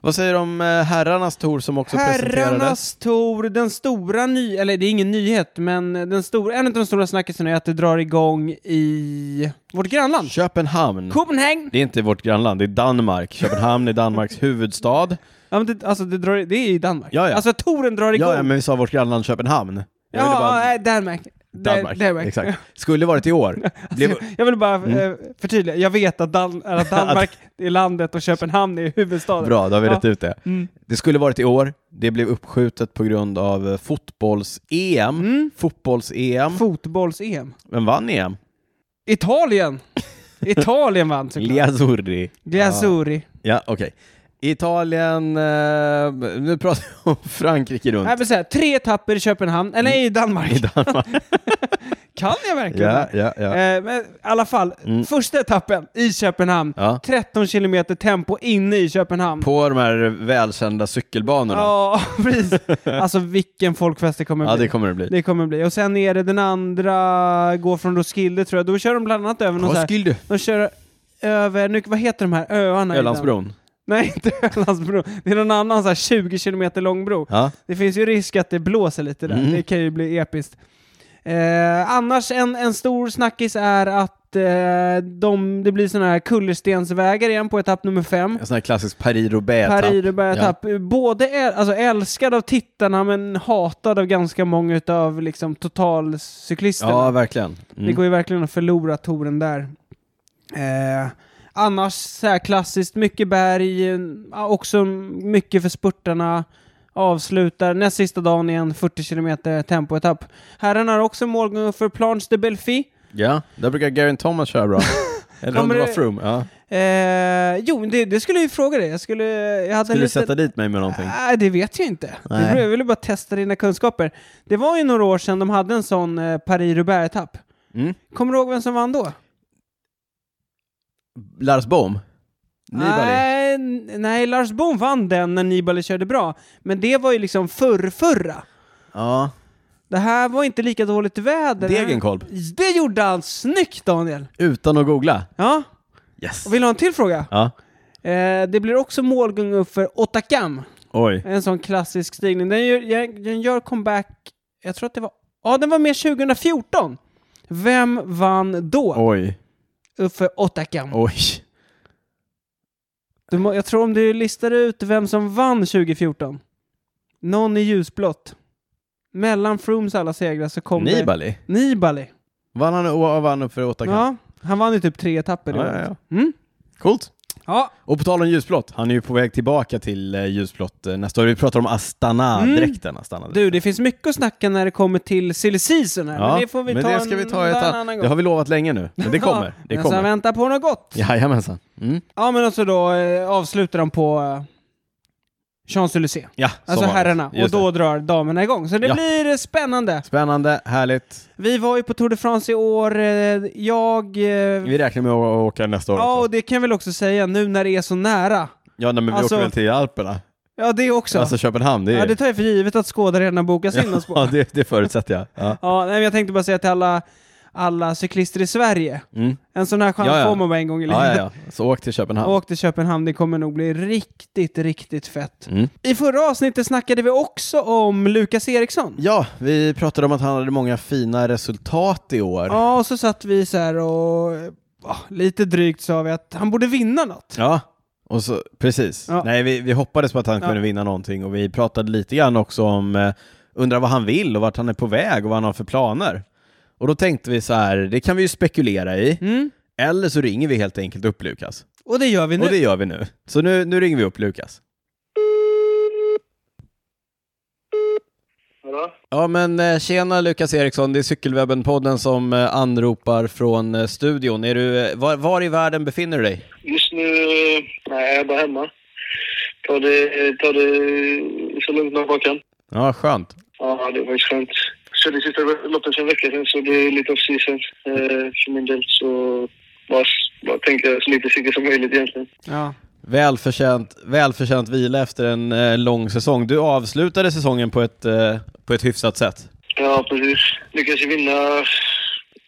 [SPEAKER 1] Vad säger du om eh, herrarnas tour som också presenterades?
[SPEAKER 2] Herrarnas Tour, den stora ny... Eller det är ingen nyhet, men den stora, en av de stora snackisarna är att det drar igång i vårt grannland.
[SPEAKER 1] Köpenhamn.
[SPEAKER 2] Copenhagen!
[SPEAKER 1] Det är inte vårt grannland, det är Danmark. Köpenhamn är Danmarks huvudstad.
[SPEAKER 2] Ja, men det, alltså det, drar, det är i Danmark.
[SPEAKER 1] Ja, ja.
[SPEAKER 2] Alltså touren drar igång.
[SPEAKER 1] Ja, ja, men vi sa vårt grannland Köpenhamn. Jag ville
[SPEAKER 2] ja,
[SPEAKER 1] bara-
[SPEAKER 2] nej, Danmark. Där-
[SPEAKER 1] Danmark. Exakt. Mm. Skulle varit i år. Blev...
[SPEAKER 2] Jag vill bara eh, förtydliga, jag vet att, Dan- att Danmark är landet och Köpenhamn är huvudstaden.
[SPEAKER 1] Bra, då har vi
[SPEAKER 2] Ja.
[SPEAKER 1] rätt ut det.
[SPEAKER 2] Mm.
[SPEAKER 1] Det skulle varit i år, det blev uppskjutet på grund av eh, fotbolls-EM.
[SPEAKER 2] Mm.
[SPEAKER 1] Fotbolls-EM.
[SPEAKER 2] Fotbolls-EM.
[SPEAKER 1] Vem vann EM?
[SPEAKER 2] Italien! Italien vann såklart.
[SPEAKER 1] Liazurri.
[SPEAKER 2] Gliazuri.
[SPEAKER 1] Ja, okej. Italien, eh, nu pratar vi om Frankrike runt
[SPEAKER 2] Nej, men så här, tre etapper i Köpenhamn, eller i Danmark.
[SPEAKER 1] Mm. i Danmark.
[SPEAKER 2] Kan jag verkligen
[SPEAKER 1] Ja,
[SPEAKER 2] det?
[SPEAKER 1] ja, ja.
[SPEAKER 2] Eh, men i alla fall,
[SPEAKER 1] Mm.
[SPEAKER 2] första etappen i Köpenhamn.
[SPEAKER 1] ja.
[SPEAKER 2] 13 kilometer tempo inne i Köpenhamn.
[SPEAKER 1] På de här välkända cykelbanorna. Ja,
[SPEAKER 2] Ja, precis. Alltså vilken folkfest det kommer bli.
[SPEAKER 1] det kommer det bli.
[SPEAKER 2] Det kommer bli. Och sen är det den andra, går från Roskilde tror jag. Då kör de bland annat över någon så här,
[SPEAKER 1] Roskilde.
[SPEAKER 2] De kör över, nu, vad heter de här öarna? i den-
[SPEAKER 1] Ölandsbron.
[SPEAKER 2] Nej, inte Ölandsbro. Det är någon annan så här 20 kilometer lång bro.
[SPEAKER 1] Ja.
[SPEAKER 2] Det finns ju risk att det blåser lite där.
[SPEAKER 1] Mm.
[SPEAKER 2] Det kan ju bli episkt. Eh, annars en, en stor snackis är att eh, de, det blir sådana här kullerstensvägar igen på etapp nummer fem.
[SPEAKER 1] En sån här klassisk Paris-Roubaix-etapp.
[SPEAKER 2] Paris börjar
[SPEAKER 1] Ja.
[SPEAKER 2] etapp. Både äl, alltså älskad av tittarna men hatad av ganska många utav liksom, totalcyklisterna.
[SPEAKER 1] Ja, verkligen.
[SPEAKER 2] Det
[SPEAKER 1] Mm.
[SPEAKER 2] går ju verkligen att förlora touren där. Eh, annars så här klassiskt, mycket berg, eh, också mycket för spurtarna. Avslutar näst sista dagen i en 40 km tempoetapp. Herrarna har också målgång för Planche de Belfi.
[SPEAKER 1] Ja, där brukar Garin Thomas köra bra. Eller om
[SPEAKER 2] Kommer
[SPEAKER 1] det var
[SPEAKER 2] det-
[SPEAKER 1] Froome. Ja.
[SPEAKER 2] Eh, jo, det, det skulle jag ju fråga dig. Jag skulle... Jag hade
[SPEAKER 1] Skulle
[SPEAKER 2] en
[SPEAKER 1] du
[SPEAKER 2] liten...
[SPEAKER 1] sätta dit mig med någonting?
[SPEAKER 2] Nej, det vet jag inte.
[SPEAKER 1] Nej.
[SPEAKER 2] Det beror- Jag ville bara testa dina kunskaper. Det var ju några år sedan de hade en sån eh, Paris-Roubaix-etapp.
[SPEAKER 1] Mm.
[SPEAKER 2] Kommer du ihåg vem som vann då?
[SPEAKER 1] Lars Bohm? Nibali?
[SPEAKER 2] Nej, n- nej, Lars Bohm vann den när Nibali körde bra. Men det var ju liksom förrförra.
[SPEAKER 1] Ja.
[SPEAKER 2] Det här var inte lika dåligt väder.
[SPEAKER 1] Degenkolb?
[SPEAKER 2] Det gjorde han snyggt, Daniel!
[SPEAKER 1] Utan att googla?
[SPEAKER 2] Ja,
[SPEAKER 1] Yes.
[SPEAKER 2] och vill du ha en till fråga?
[SPEAKER 1] Ja.
[SPEAKER 2] Eh, det blir också målgång upp för Otakam.
[SPEAKER 1] Oj.
[SPEAKER 2] En sån klassisk stigning. Den gör, den gör comeback, jag tror att det var... Ja, den var med 2014. Vem vann då?
[SPEAKER 1] Oj.
[SPEAKER 2] Upp för Otakam.
[SPEAKER 1] Oj.
[SPEAKER 2] Du må, jag tror om du listar ut vem som vann 2014. Någon i ljusblått. Mellan Froomes alla segrar så kom
[SPEAKER 1] Nibali?
[SPEAKER 2] det... Nibali.
[SPEAKER 1] Vann han och vann upp för åtta
[SPEAKER 2] Ja, han vann ju typ tre etapper. det
[SPEAKER 1] Ja,
[SPEAKER 2] året.
[SPEAKER 1] ja,
[SPEAKER 2] Mm?
[SPEAKER 1] Coolt.
[SPEAKER 2] ja.
[SPEAKER 1] Och på tal om ljusblått, han är ju på väg tillbaka till eh, ljusblått eh, nästa år. Vi pratar om Astana-dräkten. Astana
[SPEAKER 2] Mm. Du, det finns mycket att snacka när det kommer till silly season här, men det får vi
[SPEAKER 1] men
[SPEAKER 2] ta,
[SPEAKER 1] det ska
[SPEAKER 2] en,
[SPEAKER 1] vi ta i ett
[SPEAKER 2] en
[SPEAKER 1] annat...
[SPEAKER 2] annan gång.
[SPEAKER 1] Det har vi lovat länge nu, men det kommer.
[SPEAKER 2] Ja,
[SPEAKER 1] Det
[SPEAKER 2] men så
[SPEAKER 1] kommer.
[SPEAKER 2] vänta på något gott. Ja,
[SPEAKER 1] Jajamensan. Mm.
[SPEAKER 2] men alltså då eh, avslutar de på eh, Champs-Élysées.
[SPEAKER 1] Ja, som
[SPEAKER 2] Alltså
[SPEAKER 1] vanligt.
[SPEAKER 2] herrarna. Och
[SPEAKER 1] Just det.
[SPEAKER 2] då drar damerna igång. Så det
[SPEAKER 1] Ja.
[SPEAKER 2] blir eh, spännande.
[SPEAKER 1] Spännande, härligt.
[SPEAKER 2] Vi var ju på Tour de France i år. eh, Jag... eh,
[SPEAKER 1] Vi räknar med att åka nästa år
[SPEAKER 2] Ja,
[SPEAKER 1] också.
[SPEAKER 2] och det kan jag väl också säga nu när det är så nära.
[SPEAKER 1] Ja, nej, men vi
[SPEAKER 2] alltså-
[SPEAKER 1] åker väl till Alperna?
[SPEAKER 2] Ja, det också.
[SPEAKER 1] Alltså Köpenhamn, det är
[SPEAKER 2] ja, det tar jag för givet att Skåda redan har bokat in oss på.
[SPEAKER 1] Ja, det, det förutsätter jag. Ja.
[SPEAKER 2] Ja, nej, men jag tänkte bara säga till alla, alla cyklister i Sverige.
[SPEAKER 1] Mm.
[SPEAKER 2] En sån här chans
[SPEAKER 1] Ja, ja.
[SPEAKER 2] får man bara en gång i livet.
[SPEAKER 1] Ja, ja, ja. Så åk till Köpenhamn.
[SPEAKER 2] Åk till Köpenhamn, det kommer nog bli riktigt, riktigt fett.
[SPEAKER 1] Mm.
[SPEAKER 2] I förra avsnittet snackade vi också om Lukas Eriksson.
[SPEAKER 1] Ja, vi pratade om att han hade många fina resultat i år.
[SPEAKER 2] Ja, och så satt vi så här och ah, lite drygt sa vi att han borde vinna något.
[SPEAKER 1] Ja, och så, precis.
[SPEAKER 2] Ja.
[SPEAKER 1] Nej, vi, vi hoppades på att han
[SPEAKER 2] Ja.
[SPEAKER 1] kunde vinna någonting och vi pratade lite grann också om, eh, undrar vad han vill och vart han är på väg och vad han har för planer. Och då tänkte vi så här, det kan vi ju spekulera i,
[SPEAKER 2] Mm.
[SPEAKER 1] eller så ringer vi helt enkelt upp Lukas.
[SPEAKER 2] Och det gör vi nu.
[SPEAKER 1] Och det gör vi nu. Så nu, nu ringer vi upp Lukas.
[SPEAKER 3] Hallå?
[SPEAKER 1] Ja men eh, tjena Lukas Eriksson, det är Cykelwebben-podden som eh, anropar från eh, studion. Är du, eh, var, var i världen befinner du dig?
[SPEAKER 3] Just nu... eh, Nej, jag är bara hemma. Ta det, ta det så lugnt man bara kan.
[SPEAKER 1] Ja, skönt.
[SPEAKER 3] Ja, det var faktiskt skönt. Så det sista loppet för en vecka sedan, så det är lite off season eh, för min del. Så bara, bara tänka så lite cykel som möjligt egentligen.
[SPEAKER 2] Ja.
[SPEAKER 1] Välförtjänt, välförtjänt vila efter en eh, lång säsong. Du avslutade säsongen på ett, eh, på ett hyfsat sätt.
[SPEAKER 3] Ja, precis. Lyckades ju vinna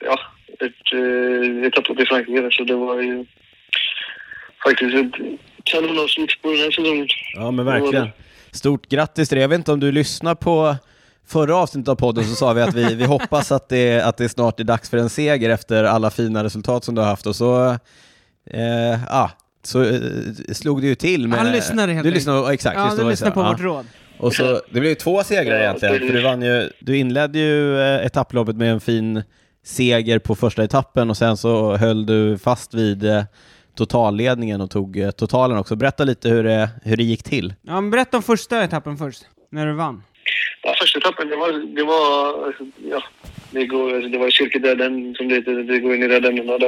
[SPEAKER 3] ja, ett eh, etapplopp i Frankrike, så det var ju faktiskt ett kanonavslut på den här säsongen.
[SPEAKER 1] Ja, men
[SPEAKER 3] verkligen.
[SPEAKER 1] Stort grattis till det. Jag vet inte om du lyssnar på förra avsnittet av podden så sa vi att vi, vi hoppas att det, att det snart är dags för en seger efter alla fina resultat som du har haft och så, eh, ah, så eh, slog du ju till. Med,
[SPEAKER 2] Han lyssnade helt
[SPEAKER 1] Du lyssnade, exakt.
[SPEAKER 2] Ja,
[SPEAKER 1] just det,
[SPEAKER 2] du
[SPEAKER 1] var det
[SPEAKER 2] lyssnar
[SPEAKER 1] så.
[SPEAKER 2] på
[SPEAKER 1] Ja.
[SPEAKER 2] vårt råd.
[SPEAKER 1] Och så, det blev ju två segrar
[SPEAKER 3] Ja,
[SPEAKER 1] egentligen,
[SPEAKER 3] precis.
[SPEAKER 1] för du, vann ju, du inledde ju eh, etapploppet med en fin seger på första etappen och sen så höll du fast vid eh, totalledningen och tog eh, totalen också. Berätta lite hur det, hur det gick till.
[SPEAKER 2] Ja, men berätta om första etappen först, när du vann.
[SPEAKER 3] Ja, första etappen, det var... Det var alltså, ja, det, går, alltså, det var kyrkodöden som det heter. Det går in i röda ämnen. och det.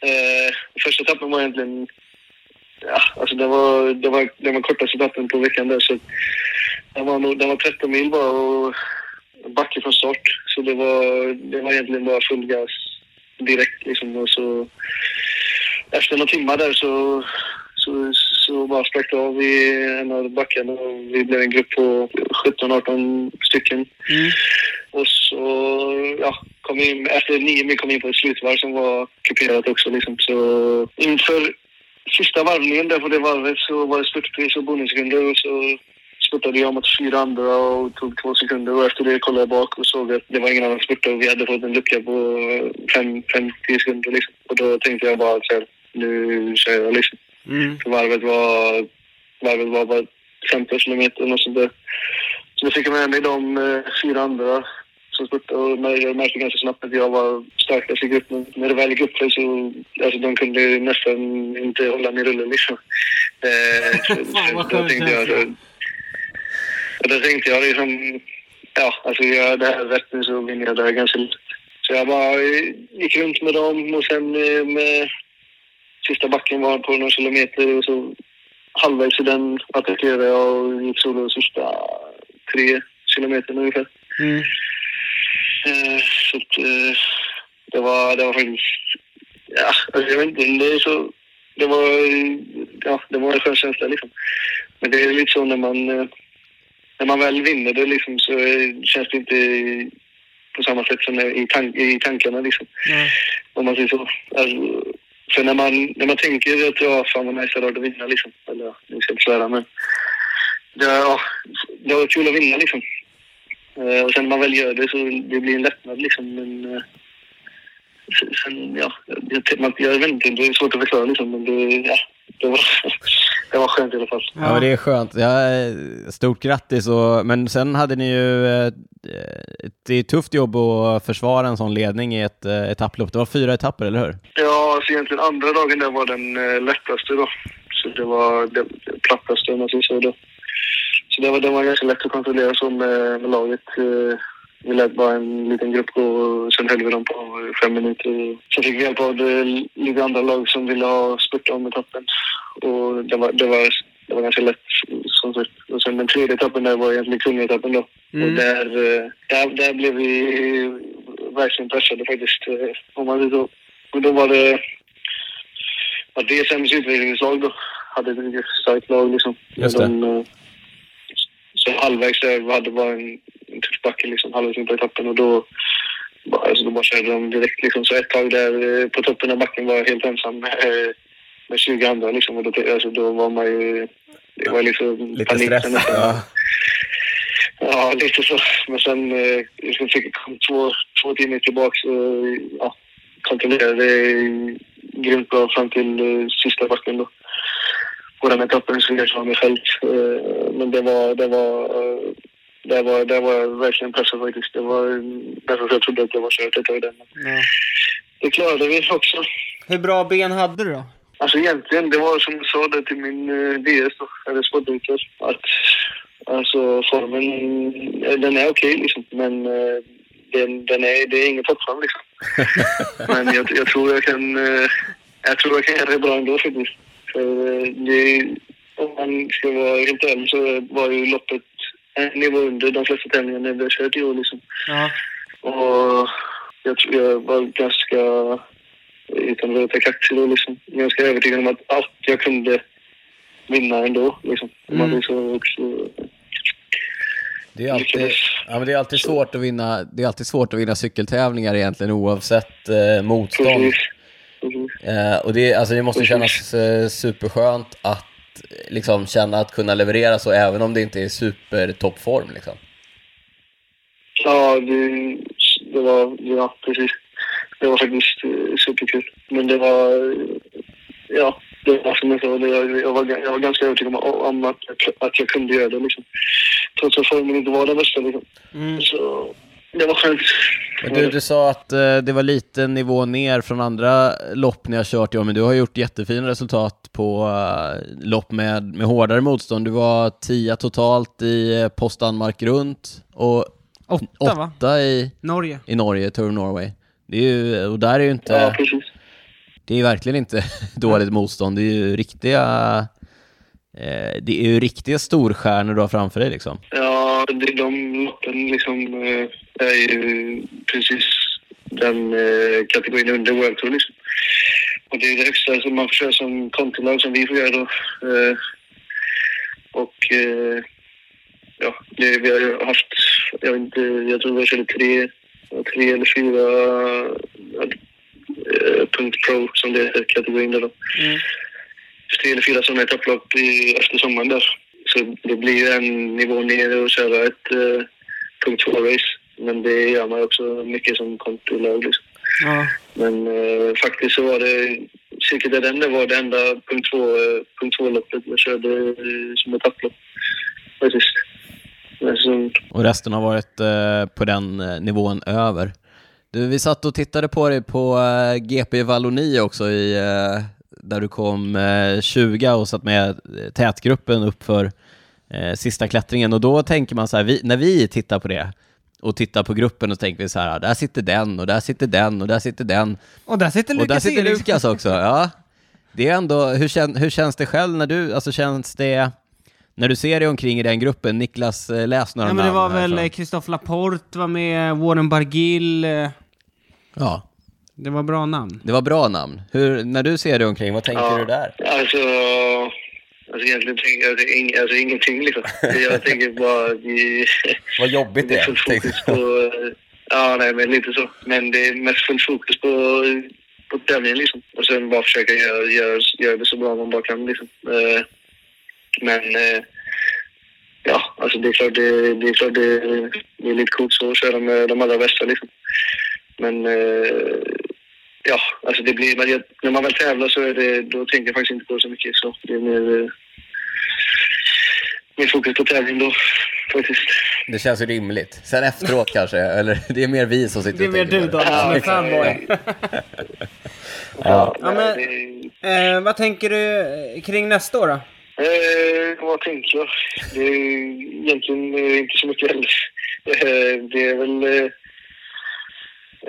[SPEAKER 3] Eh, första etappen var egentligen... Ja, alltså det var, det var, det var kortaste etappen på veckan där. Så den, var nog, den var 13 mil bara och backe från start. Så det var, det var egentligen bara full gas direkt liksom. Och så, efter några timmar där så, så, så bara sprack det av i en av backarna och vi blev en grupp på 17-18 stycken.
[SPEAKER 2] Mm.
[SPEAKER 3] Och så ja, kom vi in, efter nio mil kom vi in på ett slutvarv som var kuperat också. Liksom. Så inför sista varvningen där på det varvet så var det spurtpris och bonussekunder och så spurtade jag mot fyra andra och tog två sekunder och efter det kollade jag bak och såg att det var ingen annan spurt och vi hade fått en lucka på eh, fem, fem, tio sekunder liksom. Och då tänkte jag bara att så här, nu kör jag liksom.
[SPEAKER 2] Mm.
[SPEAKER 3] Varvet var, varvet var bara 15 kilometer eller sånt där. Så jag fick med mig de eh, fyra andra som spurtade och när jag märkte ganska snabbt att jag var starkast i gruppen. När det väl gick upp för så, alltså de kunde ju nästan inte hålla mig i rullen liksom. Eh, så,
[SPEAKER 2] Fan, vad
[SPEAKER 3] så, då
[SPEAKER 2] skön
[SPEAKER 3] tänkte jag,
[SPEAKER 2] känsla.
[SPEAKER 3] och då tänkte jag liksom, ja alltså gör jag det här rätt nu så vinner jag det här ganska lätt. Så jag bara eh, gick runt med dem och sen eh, med sista backen var på några kilometer och så halvvägs i den attackerade jag och gick solo de sista tre kilometerna ungefär.
[SPEAKER 2] Mm.
[SPEAKER 3] Eh, Så att, eh, det var, det var faktiskt, ja, alltså jag vet inte, det är så, det var, eh, ja, det var en skön känsla liksom. Men det är lite så när man, eh, när man väl vinner det liksom så eh, känns det inte på samma sätt som i, tan- i tankarna liksom
[SPEAKER 2] Ja.
[SPEAKER 3] om man säger så. Alltså, för när man, när man tänker att ja, fan vad nice det hade varit att vinna liksom. Eller ja, nu ska jag inte svära men. Det, ja, det var kul att vinna liksom. Eh, och sen när man väl gör det så det blir en lättnad liksom. Men, eh, sen- sen, ja, jag, jag, man- jag vet inte, det är svårt att förklara liksom. Men det, ja, det, var, det var skönt i alla fall.
[SPEAKER 1] Ja, men det är skönt. Ja, eh, stort grattis. Och, men sen hade ni ju... eh, Det är ett tufft jobb att försvara en sån ledning i ett eh, etapplopp. Det var fyra etapper, eller hur?
[SPEAKER 3] Ja, så egentligen andra dagen där var den eh, lättaste då. Så det var det, det plattaste om man säger så då. Så det var, det var ganska lätt att kontrollera så med, med laget. Eh, vi lät bara en liten grupp gå och sen höll vi dem på i fem minuter. Sen fick vi hjälp av det, lite andra lag som ville ha spurt om etappen. Och det var, det var, det var ganska lätt som sagt. Och sen den tredje etappen där var egentligen kungetappen då. Och
[SPEAKER 2] Mm.
[SPEAKER 3] där, eh, där, där blev vi eh, verkligen pressade faktiskt, eh, om man säger så. Och då var det att DSMs utvecklingslag då hade ett mycket starkt lag liksom.
[SPEAKER 1] Just det.
[SPEAKER 3] De, eh, så halvvägs där hade bara en, en tuff backe liksom, halvvägs in på etappen och då bara, alltså, då bara körde de direkt. Liksom. Så ett tag där eh, på toppen av backen var jag helt ensam eh, med 20 andra. Liksom. Och då, t- alltså, då var man ju... Det var liksom
[SPEAKER 4] Lite stress.
[SPEAKER 3] nästan.
[SPEAKER 4] Ja.
[SPEAKER 3] Ja, lite så. Men sen eh, liksom fick jag kom två, två timmar tillbaka och ja, kontrollerade grymt bra fram till eh, sista backen då. På den etappen så jag var mig själv. Eh, men det var, det var, eh, det var, det var verkligen pressat faktiskt. Det var eh, därför jag trodde att det var kört ett tag där. Men
[SPEAKER 2] Nej.
[SPEAKER 3] det klarade vi också.
[SPEAKER 2] Hur bra ben hade du då?
[SPEAKER 3] Alltså egentligen, det var som jag sa det till min eh, DS då, eller sportdirektör, att alltså formen, eh, den är okej liksom, men eh, den, den är, det är ingen toppform liksom. men jag, jag tror jag kan, eh, jag tror jag kan göra det bra ändå faktiskt. För eh, det, om man ska vara helt ärlig så var ju loppet en nivå under de flesta tävlingarna vi har kört i år liksom.
[SPEAKER 2] Ja.
[SPEAKER 3] Och jag tror jag var ganska, utan att vara kaxig då liksom, ganska övertygad om att allt jag kunde vinna ändå liksom. Om Man
[SPEAKER 2] Mm.
[SPEAKER 3] liksom också
[SPEAKER 1] Det är alltid, ja, men det är alltid, svårt, att vinna, det är alltid svårt att vinna cykeltävlingar egentligen oavsett eh, motstånd.
[SPEAKER 3] precis. precis.
[SPEAKER 1] Eh, och det, alltså det måste kännas eh, superskönt att eh, liksom, känna att kunna leverera så även om det inte är supertoppform. Liksom.
[SPEAKER 3] Ja, det, det var, ja precis. Det var faktiskt eh, superkul. Men det var, eh, ja, det var som jag sa, det- jag, jag, var, jag var ganska övertygad om, om att, jag- att jag kunde göra det liksom. Trots att formen inte var den bästa liksom.
[SPEAKER 2] Mm.
[SPEAKER 3] Så det var skönt.
[SPEAKER 1] Men du, du sa att eh, det var lite nivå ner från andra lopp ni har kört i år, men du har gjort jättefina resultat på eh, lopp med, med hårdare motstånd. Du var tia totalt i eh, Post Danmark runt och
[SPEAKER 2] Åtta, va?
[SPEAKER 1] åtta i,
[SPEAKER 2] Norge.
[SPEAKER 1] i Norge, Tour of Norway. Det är ju, och där är ju inte...
[SPEAKER 3] Ja, precis.
[SPEAKER 1] Det är ju verkligen inte dåligt motstånd. Det är ju riktiga... Eh, det är ju riktiga storstjärnor du har framför dig liksom.
[SPEAKER 3] Ja, det- de loppen liksom eh, är ju precis den eh, kategorin under World Tour liksom. Och det är det högsta som man försöker som kontolag som vi får göra då. Eh, och eh, ja, det, vi har ju haft, jag vet inte, jag tror vi körde tre, tre eller fyra eh, punkt pro som det heter, kategorin där då
[SPEAKER 2] Mm.
[SPEAKER 3] tre eller fyra sådana etapplopp i, efter sommaren där. Så det blir ju en nivå ner och köra ett eh, punkt två-race. Men det gör man ju också mycket som kontolag liksom.
[SPEAKER 2] Ja.
[SPEAKER 3] Men eh, faktiskt så var det, Cirkel där den var det enda punkt två, eh, punkt två-loppet jag körde eh, som etapplopp. Faktiskt. Men så,
[SPEAKER 1] Och resten har varit eh, på den eh, nivån över. Du, vi satt och tittade på dig på eh, GP Valloni också, i, eh, där du kom eh, 20 och satt med eh, tätgruppen upp för eh, sista klättringen. Och då tänker man så här, vi, när vi tittar på det och tittar på gruppen och tänker vi så här, "Ah, där sitter den och där sitter den och där sitter den.
[SPEAKER 2] Och där sitter Lukas
[SPEAKER 1] Och där sitter
[SPEAKER 2] Eriksson.
[SPEAKER 1] Lukas också, ja. Det är ändå, hur, kän, hur känns det själv när du, alltså känns det, när du ser dig omkring i den gruppen, Niklas, eh, läs några
[SPEAKER 2] Ja, men det
[SPEAKER 1] namn
[SPEAKER 2] var väl
[SPEAKER 1] härifrån.
[SPEAKER 2] eh, Christophe Laporte var med, Warren Bargill. eh,
[SPEAKER 1] Ja,
[SPEAKER 2] Det var bra namn.
[SPEAKER 1] det var bra namn. Hur, när du ser dig omkring, vad tänker du där?
[SPEAKER 3] Alltså, alltså egentligen tänker jag det är ing, alltså, ingenting liksom. Jag tänker bara att vi...
[SPEAKER 4] Vad jobbigt det
[SPEAKER 3] Det är
[SPEAKER 4] är.
[SPEAKER 3] fullt
[SPEAKER 4] tänkte
[SPEAKER 3] fokus på... eh, Ja, nej, men lite så. Men det är mest fullt fokus på, på tävlingen liksom. Och sen bara försöka göra, göra, göra det så bra man bara kan liksom. Eh, Men eh, ja, alltså det är klart det, det, är, klart det, det är lite coolt så att köra med de allra bästa liksom. Men eh, ja, alltså det blir, men jag- när man väl tävlar så är det, då tänker jag faktiskt inte på det så mycket. Så det är mer, eh, mer fokus på tävling då faktiskt.
[SPEAKER 4] Det känns ju rimligt. Sen efteråt kanske, eller det är mer vi som sitter
[SPEAKER 2] Det är
[SPEAKER 4] och
[SPEAKER 2] mer
[SPEAKER 4] tänker
[SPEAKER 2] du
[SPEAKER 4] på
[SPEAKER 2] då, som är fanboy.
[SPEAKER 3] Ja,
[SPEAKER 2] Ja, men-
[SPEAKER 3] nej, det-
[SPEAKER 2] Eh, vad tänker du eh, kring nästa år då?
[SPEAKER 3] Eh, vad tänker jag? Det är egentligen eh, inte så mycket heller. Eh, det är väl... Eh,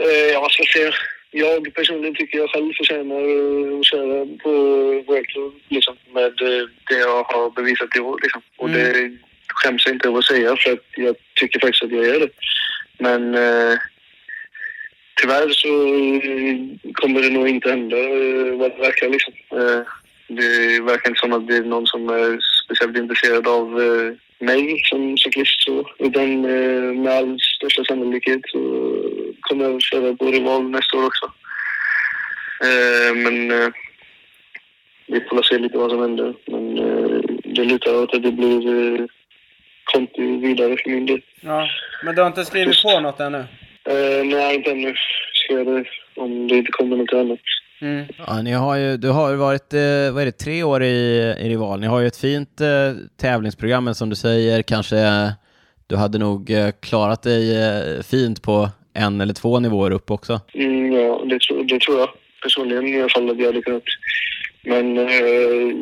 [SPEAKER 3] eh, ja, vad ska jag säga? Jag personligen tycker jag själv förtjänar eh, att köra på World Tour, liksom, med eh, det jag har bevisat i år. Liksom. Och
[SPEAKER 2] Mm.
[SPEAKER 3] det skäms jag inte över att säga, för att jag tycker faktiskt att jag gör det. Men eh, tyvärr så eh, kommer det nog inte hända eh, vad det verkar. Liksom. Eh, det verkar inte som att det är någon som är speciellt intresserad av eh, mig som cyklist. Så, utan eh, med all största sannolikhet så kommer jag köra på Rival nästa år också. Eh, men eh, vi får se lite vad som händer. Men eh, det lutar åt att det blir eh, Conti vidare för min del.
[SPEAKER 2] Ja, men du har inte skrivit på något
[SPEAKER 1] Mm.
[SPEAKER 2] ännu?
[SPEAKER 3] Eh, nej, inte ännu. Ska jag det om det inte kommer något annat.
[SPEAKER 2] Mm.
[SPEAKER 1] Ja, ni har ju, du har ju varit eh, vad är det, tre år i, i Rival. Ni har ju ett fint eh, tävlingsprogram, men som du säger, kanske eh, du hade nog eh, klarat dig eh, fint på en eller två nivåer upp också.
[SPEAKER 3] Mm, ja, det, tro- det tror jag. Personligen i alla fall att jag hade kunnat. Men eh,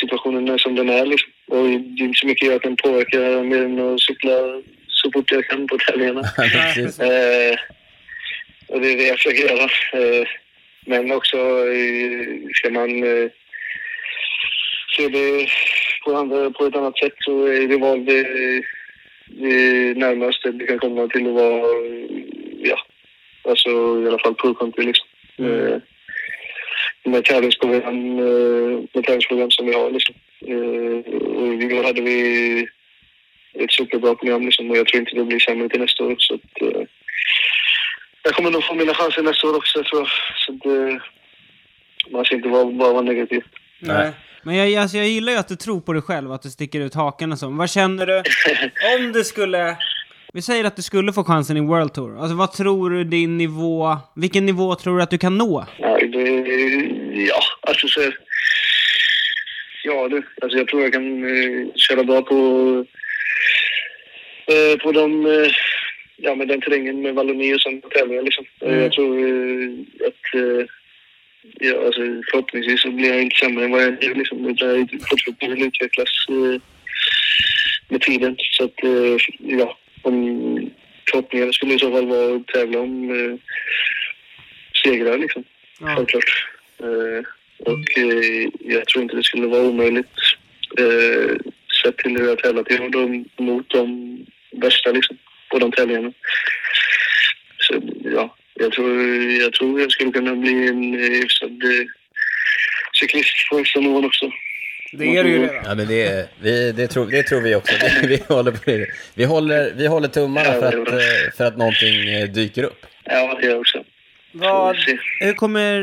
[SPEAKER 3] situationen är som den är liksom. Och det är inte så mycket jag kan påverka mer än att cykla så fort jag kan på tävlingarna.
[SPEAKER 1] Precis.
[SPEAKER 3] Eh, och det är det jag försöker göra. Eh, men också eh, ska man eh, se det på, andra, på ett annat sätt eh, så är det val det, det eh, närmaste det kan komma till att vara, ja, alltså i alla fall pro-country liksom. Eh, med tävlingsprogram, eh, med tävlingsprogram som vi har liksom. Eh, och i år hade vi ett superbra program liksom, och jag tror inte det blir sämre till nästa år. Så att, eh, jag kommer nog få mina chanser nästa år också tror jag. Så att, eh, man ska inte vara, bara vara negativ.
[SPEAKER 2] Nej. Men jag, alltså, jag gillar ju att du tror på dig själv, att du sticker ut haken och så. Men Vad känner du om du skulle... Vi säger att du skulle få chansen i World Tour. Alltså vad tror du din nivå... Vilken nivå tror du att du kan nå?
[SPEAKER 3] Nej, Eh, det, ja, alltså så... Ja du, alltså jag tror jag kan eh, köra bra på, eh, på de, eh, ja, med den terrängen med Valloni och sånt tävlingar liksom. Eh, Jag tror eh, att, eh, ja, alltså, förhoppningsvis så blir jag inte sämre än vad jag är liksom. Utan jag fortsätter väl utvecklas eh, med tiden. Så att, eh, ja, om förhoppningarna skulle i så fall vara att tävla om eh, segrar liksom.
[SPEAKER 2] Ja.
[SPEAKER 3] Självklart. Eh, och eh, jag tror inte det skulle vara omöjligt eh, sett till hur jag tävlat i år de- mot de bästa liksom, på de tävlingarna. Så ja, jag tror jag, tror jag skulle kunna bli en eh, hyfsad eh, cyklist på högsta nivån också.
[SPEAKER 2] Det är du ju redan.
[SPEAKER 4] Ja, men det, vi, det, tror, det tror vi också. Vi, vi, håller, på det. vi, håller, vi håller tummarna för att, eh, för att någonting eh, dyker upp.
[SPEAKER 3] Ja, det gör jag också.
[SPEAKER 2] Vad,
[SPEAKER 3] Vi får se.
[SPEAKER 2] hur kommer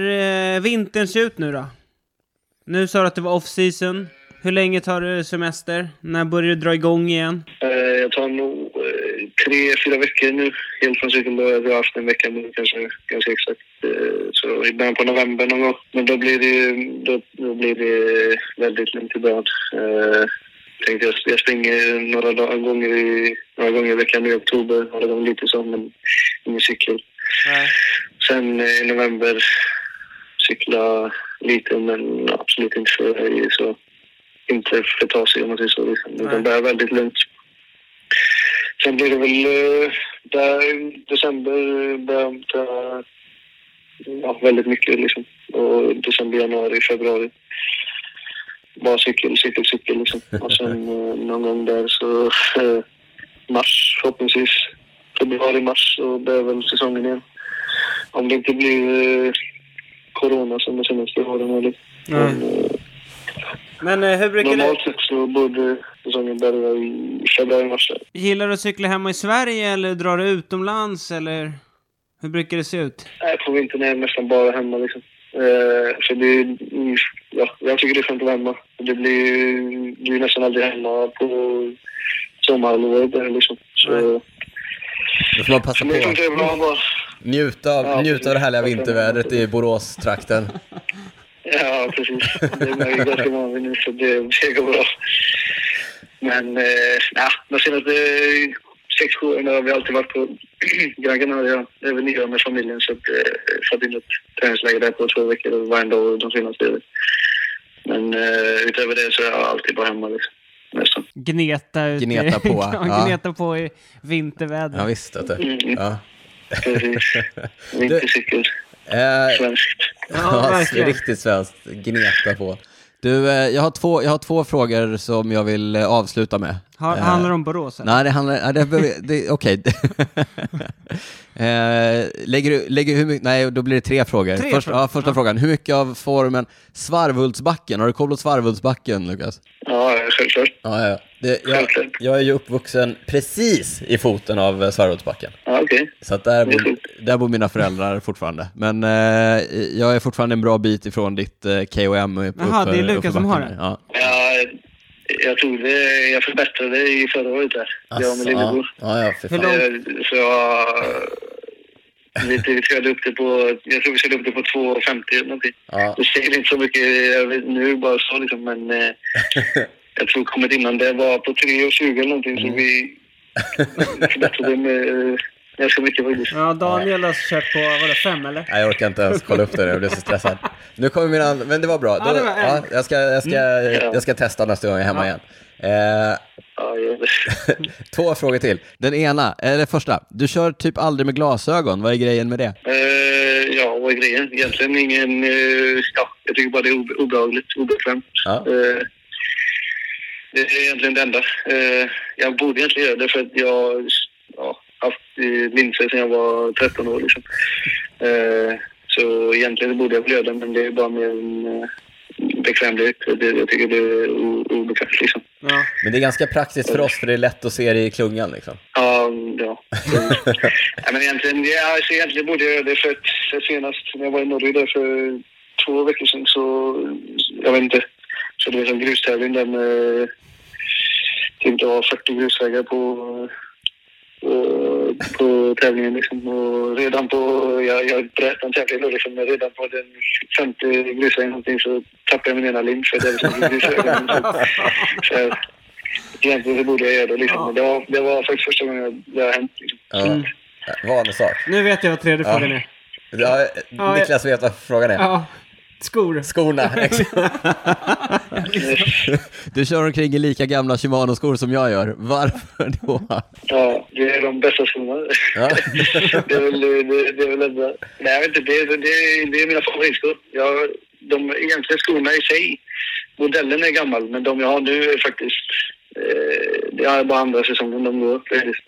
[SPEAKER 2] eh, vintern se ut nu då? Nu sa du att det var off-season. Hur länge tar du semester? När börjar du dra igång igen?
[SPEAKER 3] Eh, Jag tar nog eh, tre, fyra veckor nu. Helt från cykeln. då. Vi har haft en vecka nu kanske ganska exakt. Eh, Så i början på november någon gång. Men då blir det, ju- då, då blir det väldigt lugnt i början. Eh, Tänkte jag, jag springer några dagar, gånger i, några gånger i veckan nu i oktober. Några gånger lite så, men ingen cykel. Sen eh, i november cykla lite, men absolut inte för, så, inte för tasig om man säger så. Liksom.
[SPEAKER 2] Nej.
[SPEAKER 3] Utan det är väldigt lugnt. Sen blir det väl eh, där i december eh, börjar jag ta, ja, väldigt mycket liksom. Och december, januari, februari. Bara cykel, cykel, cykel liksom. Och sen eh, någon gång där så eh, mars förhoppningsvis. Februari, mars så börjar väl säsongen igen. Om det inte blir eh, corona som de senaste åren eller
[SPEAKER 2] Mm. Men eh, hur brukar du...
[SPEAKER 3] Normalt sett så borde säsongen börja i februari, mars. där.
[SPEAKER 2] Gillar du att cykla hemma i Sverige eller drar du utomlands eller? Hur brukar det se ut?
[SPEAKER 3] Nej, på vintern är jag nästan bara hemma liksom. Eh, för det är, mm, ja, jag tycker det är skönt att vara hemma. Det blir ju det är nästan aldrig hemma på sommarhalvåret där, liksom. Så
[SPEAKER 4] Då får man passa
[SPEAKER 3] men jag
[SPEAKER 4] på.
[SPEAKER 3] funkar ju bra bara.
[SPEAKER 4] Njuta av,
[SPEAKER 3] Ja,
[SPEAKER 4] njuta av det härliga
[SPEAKER 3] precis.
[SPEAKER 4] vintervädret i Boråstrakten.
[SPEAKER 3] Ja, precis. Det är man ju ganska van vid nu, så det, det går bra. Men eh, nah, de senaste sex, sju åren har vi alltid varit på Gran Canaria över nyår med familjen. Så att, eh, satt in ett träningsläger där på två veckor varje dag de senaste åren. Men eh, utöver det så är jag alltid bara hemma liksom, nästan.
[SPEAKER 2] Gneta ut i-
[SPEAKER 4] Gneta på,
[SPEAKER 2] ja.
[SPEAKER 4] ja.
[SPEAKER 2] Gneta på i vintervädret.
[SPEAKER 4] Ja, visst. Att det.
[SPEAKER 3] Mm.
[SPEAKER 4] Ja.
[SPEAKER 3] Precis. Vintercykel.
[SPEAKER 4] Eh,
[SPEAKER 3] Svenskt.
[SPEAKER 2] Ja,
[SPEAKER 4] Ja,
[SPEAKER 2] verkligen.
[SPEAKER 4] riktigt svenskt. Gneta på.
[SPEAKER 1] Du, eh, jag har, två, jag har två frågor som jag vill eh, avsluta med.
[SPEAKER 2] Ha,
[SPEAKER 1] Eh,
[SPEAKER 2] handlar det om Borås? eller?
[SPEAKER 1] Nej, det handlar... nej, det behöver- det- Okej. Eh, lägger du... Lägger hur mycket... Nej, då blir det tre frågor.
[SPEAKER 2] Tre
[SPEAKER 1] Först,
[SPEAKER 2] frågor.
[SPEAKER 1] Ja, första frågan. Hur mycket av formen Svarvhultsbacken? Har du koll på Svarvhultsbacken, Lukas?
[SPEAKER 3] Ja, självklart.
[SPEAKER 4] Ja, ja, ja. Det, jag,
[SPEAKER 3] Självklart.
[SPEAKER 4] jag är ju uppvuxen precis i foten av eh, Svarvhultsbacken.
[SPEAKER 3] Ja, okej.
[SPEAKER 4] Så att där,
[SPEAKER 3] Det är
[SPEAKER 4] bor,
[SPEAKER 3] sjukt.
[SPEAKER 1] Där bor mina föräldrar fortfarande. Men eh, jag är fortfarande en bra bit ifrån ditt eh, KOM. upp-
[SPEAKER 2] Jaha, det är
[SPEAKER 1] uppför-
[SPEAKER 2] Lukas
[SPEAKER 1] uppför
[SPEAKER 2] som
[SPEAKER 1] backen
[SPEAKER 2] har
[SPEAKER 1] där.
[SPEAKER 2] det.
[SPEAKER 1] Ja.
[SPEAKER 3] Ja, jag tror det. Jag förbättrade i förra året där. jag och min
[SPEAKER 4] ja,
[SPEAKER 3] lillebror.
[SPEAKER 4] ja, ja, för
[SPEAKER 2] Hur
[SPEAKER 4] fan.
[SPEAKER 3] Eh, Så jag... Lite, vi körde upp det på... Jag tror vi körde upp det på 2,50 eller någonting.
[SPEAKER 4] Ja.
[SPEAKER 3] Det säger inte så mycket jag vet, nu bara så liksom, men... Eh, jag tror kommit innan det var på 3,20 eller någonting så vi förbättrade med eh, ganska mycket faktiskt.
[SPEAKER 2] Ja, Daniel har kört på, vadå, fem eller?
[SPEAKER 4] Nej, jag orkar inte ens kolla upp det nu, jag blev så stressad. Nu kommer min andra, men det var Mm. bra.
[SPEAKER 2] Ja, det var en.
[SPEAKER 4] ja, jag, ska, jag, ska, jag ska testa nästa gång jag är hemma igen. Eh,
[SPEAKER 3] Ja, jag,
[SPEAKER 4] två frågor till.
[SPEAKER 1] Den ena, eller första. Du kör typ aldrig med glasögon. Vad är grejen med det?
[SPEAKER 3] Eh, ja, vad är grejen? Egentligen ingen... eh, ja, jag tycker bara det är obe- obehagligt, obekvämt.
[SPEAKER 4] Ja.
[SPEAKER 3] Eh, det är egentligen det enda. Eh, jag borde egentligen göra det för att jag ja, haft eh, linser sedan jag var 13 år. Liksom. Eh, så egentligen borde jag väl göra det, men det är bara mer en eh, bekvämlighet. Det, jag tycker det är o- obekvämt liksom.
[SPEAKER 2] Ja.
[SPEAKER 4] Men det är ganska praktiskt för oss, för det är lätt att se det i klungan. Liksom.
[SPEAKER 3] Ja, ja. ja men egentligen, ja, alltså, egentligen borde jag göra det för, att- för senast när jag var i Norge där för två veckor sedan så, jag vet inte, så det var en grustävling där med typ det var 40 grusvägar på, eh, på tävlingen liksom. Och redan på, jag, jag bröt en tävling då liksom, men redan på den 50 grusvägen någonting så tappade jag min ena lim för det var så mycket grusvägar. Så, så, jag- egentligen så borde jag göra det liksom. Men det var, det var faktiskt första gången det har hänt. Liksom.
[SPEAKER 4] Ja. Eh, Vanesak.
[SPEAKER 2] Nu vet jag vad tredje
[SPEAKER 4] Ja.
[SPEAKER 2] frågan är.
[SPEAKER 4] Ja, eh,
[SPEAKER 2] Ja,
[SPEAKER 4] Niklas vet vad frågan är.
[SPEAKER 2] Ja. Skor.
[SPEAKER 4] Skorna. exakt.
[SPEAKER 1] Du kör omkring i lika gamla Shimano-skor som jag gör. Varför då?
[SPEAKER 3] Ja, det är de bästa skorna.
[SPEAKER 4] Ja.
[SPEAKER 3] det är väl det, det, är väl ändå, nej, jag vet inte, det, det, det, det är mina favoritskor. Jag, de egentligen skorna i sig, modellen är gammal, men de jag har nu är faktiskt, eh, det har jag bara andra säsongen de går faktiskt.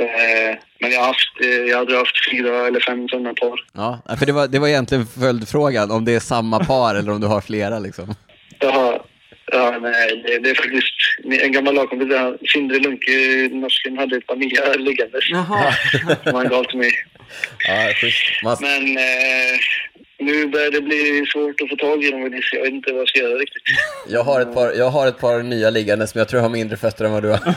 [SPEAKER 3] Eh, men jag har haft, eh, jag hade haft fyra eller fem sådana par.
[SPEAKER 1] Ja, för det var, det var egentligen följdfrågan, om det är samma par eller om du har flera liksom.
[SPEAKER 3] Jaha. Ja, nej, det, det är faktiskt en gammal lagkompis, där, Sindre Lunke, norsken, hade ett par nya liggandes
[SPEAKER 2] Jaha.
[SPEAKER 3] som han gav till mig.
[SPEAKER 4] Ja, schysst. Man,
[SPEAKER 3] Men eh, nu börjar det bli svårt att få tag i dem. Dennis. Jag vet inte vad jag ska göra riktigt.
[SPEAKER 4] jag, har ett par, jag har ett par nya liggande som jag tror har mindre fötter än vad du har.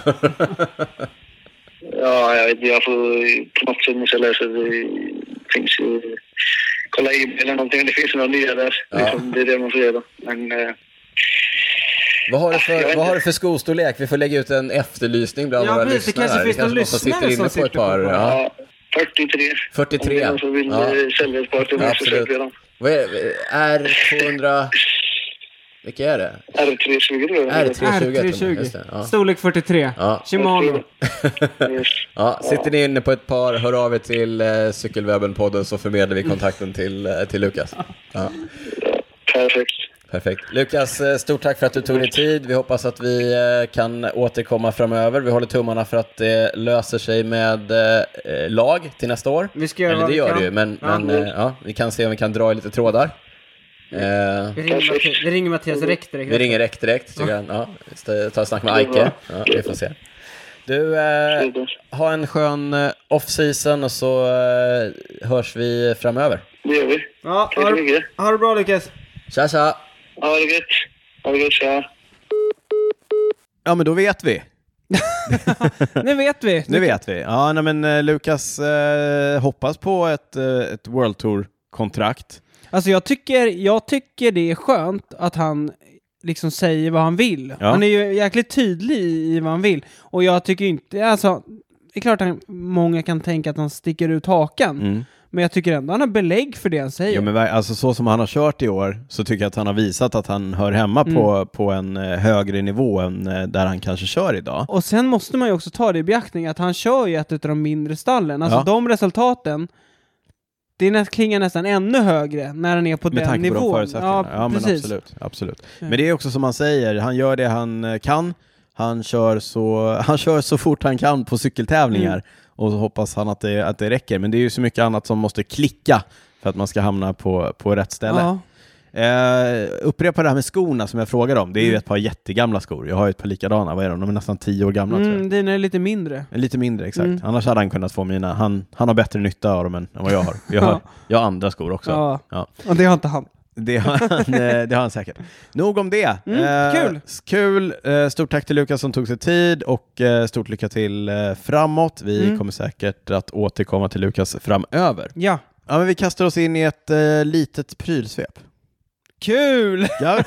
[SPEAKER 3] Ja, jag, vet, inte. jag får på något sätt måste jag läsa. Det finns ju... Kolla i eller någonting. Det finns några nya där. Liksom, det är det man får göra. Men eh,
[SPEAKER 4] Vad har, du
[SPEAKER 3] Jag vet
[SPEAKER 4] för,
[SPEAKER 3] inte.
[SPEAKER 4] vad har du för skostorlek? Vi får lägga ut en efterlysning bland
[SPEAKER 2] Ja,
[SPEAKER 4] våra
[SPEAKER 2] precis. Det
[SPEAKER 4] lyssnare.
[SPEAKER 2] kanske
[SPEAKER 4] här.
[SPEAKER 2] finns någon
[SPEAKER 4] någon som
[SPEAKER 2] lyssnare som
[SPEAKER 4] sitter inne på ett
[SPEAKER 2] sitter på
[SPEAKER 4] par.
[SPEAKER 2] det.
[SPEAKER 4] Ja.
[SPEAKER 3] ja. 43.
[SPEAKER 4] 43.
[SPEAKER 3] Om det är någon som vill
[SPEAKER 4] Ja.
[SPEAKER 3] eh, sälja ett par till mig så
[SPEAKER 4] Absolut.
[SPEAKER 3] köper jag dem.
[SPEAKER 4] Vad är R200... Vilka är det?
[SPEAKER 3] R320 tror jag.
[SPEAKER 4] R320. Just det, ja.
[SPEAKER 2] R320. Storlek 43.
[SPEAKER 4] Ja.
[SPEAKER 2] Shimano.
[SPEAKER 3] Yes.
[SPEAKER 4] Ja, sitter ni inne på ett par, hör av er till eh, Cykelwebben-podden så förmedlar vi kontakten till, eh, till Lukas. Ja,
[SPEAKER 3] Perfekt.
[SPEAKER 4] perfekt. Lukas, eh, stort tack för att du tog dig tid. Vi hoppas att vi eh, kan återkomma framöver. Vi håller tummarna för att det löser sig med eh, eh, lag till nästa år.
[SPEAKER 2] Vi ska göra
[SPEAKER 4] Eller
[SPEAKER 2] vad
[SPEAKER 4] det
[SPEAKER 2] vi
[SPEAKER 4] gör
[SPEAKER 2] kan.
[SPEAKER 4] det ju, men,
[SPEAKER 2] Ja.
[SPEAKER 4] men eh, ja, vi kan se om vi kan dra i lite trådar. Eh,
[SPEAKER 2] Vi ringer, Matte- vi ringer Mattias Räck direkt.
[SPEAKER 4] vi ringer Räck direkt, tycker han. Ja, st- ta ett snack med Aike. Ja, vi får se. Du, eh, ha en skön eh, off-season och så eh, hörs vi framöver.
[SPEAKER 3] Det gör vi.
[SPEAKER 2] Ja,
[SPEAKER 3] Tack
[SPEAKER 2] ha,
[SPEAKER 3] så
[SPEAKER 2] det-
[SPEAKER 3] mycket.
[SPEAKER 2] ha det bra Lukas.
[SPEAKER 4] Tja, tja!
[SPEAKER 3] Ha det gött. Ha det gött. Tja.
[SPEAKER 1] Ja, men då vet vi.
[SPEAKER 2] Nu vet vi.
[SPEAKER 1] Nu vet vi. Ja, nej, men eh, Lukas eh, hoppas på ett, eh, ett World Tour-kontrakt.
[SPEAKER 2] Alltså jag tycker, jag tycker det är skönt att han liksom säger vad han vill.
[SPEAKER 1] Ja.
[SPEAKER 2] Han är ju jäkligt tydlig i vad han vill. Och jag tycker inte, alltså, det är klart att han- många kan tänka att han sticker ut hakan. Men jag tycker ändå han har belägg för det han säger.
[SPEAKER 1] Ja, Mm. men ver- alltså, så som han har kört i år så tycker jag att han har visat att han hör hemma på, på en eh, högre nivå än eh, där han kanske kör idag.
[SPEAKER 2] Och sen måste man ju också ta det i beaktning att han kör ju ett av de mindre stallen. Alltså
[SPEAKER 1] Ja.
[SPEAKER 2] de resultaten, det nä- klingar nästan ännu högre när han är på
[SPEAKER 1] Med
[SPEAKER 2] den
[SPEAKER 1] tanke på de
[SPEAKER 2] nivån.
[SPEAKER 1] förutsättningarna. Ja, men absolut, absolut. Men det är också som han säger, han gör det han eh, kan. Han kör så, han kör så fort han kan på cykeltävlingar
[SPEAKER 2] Mm.
[SPEAKER 1] och så hoppas han att det, att det räcker. Men det är ju så mycket annat som måste klicka för att man ska hamna på, på rätt ställe.
[SPEAKER 2] Ja.
[SPEAKER 1] Eh, upprepa det här med skorna som jag frågade om. Det är
[SPEAKER 2] Mm.
[SPEAKER 1] ju ett par jättegamla skor. Jag har ju ett par likadana. Vad är de? De är nästan tio år gamla tror jag.
[SPEAKER 2] Mm, dina är lite mindre.
[SPEAKER 1] Lite mindre exakt.
[SPEAKER 2] Mm.
[SPEAKER 1] Annars hade han kunnat få mina. Han, han har bättre nytta av dem än, än vad jag har. Jag har, jag har andra skor också.
[SPEAKER 2] Ja.
[SPEAKER 1] Ja.
[SPEAKER 2] Och det har inte han.
[SPEAKER 1] Det, har han, eh, det har han säkert. Nog om det.
[SPEAKER 2] Mm, kul.
[SPEAKER 1] s- kul. Eh, stort tack till Lukas som tog sig tid och eh, stort lycka till eh, framåt. Vi
[SPEAKER 2] Mm.
[SPEAKER 1] kommer säkert att återkomma till Lukas framöver.
[SPEAKER 2] Ja.
[SPEAKER 1] Ja, men vi kastar oss in i ett eh, litet prylsvep.
[SPEAKER 2] Kul!
[SPEAKER 1] Ja.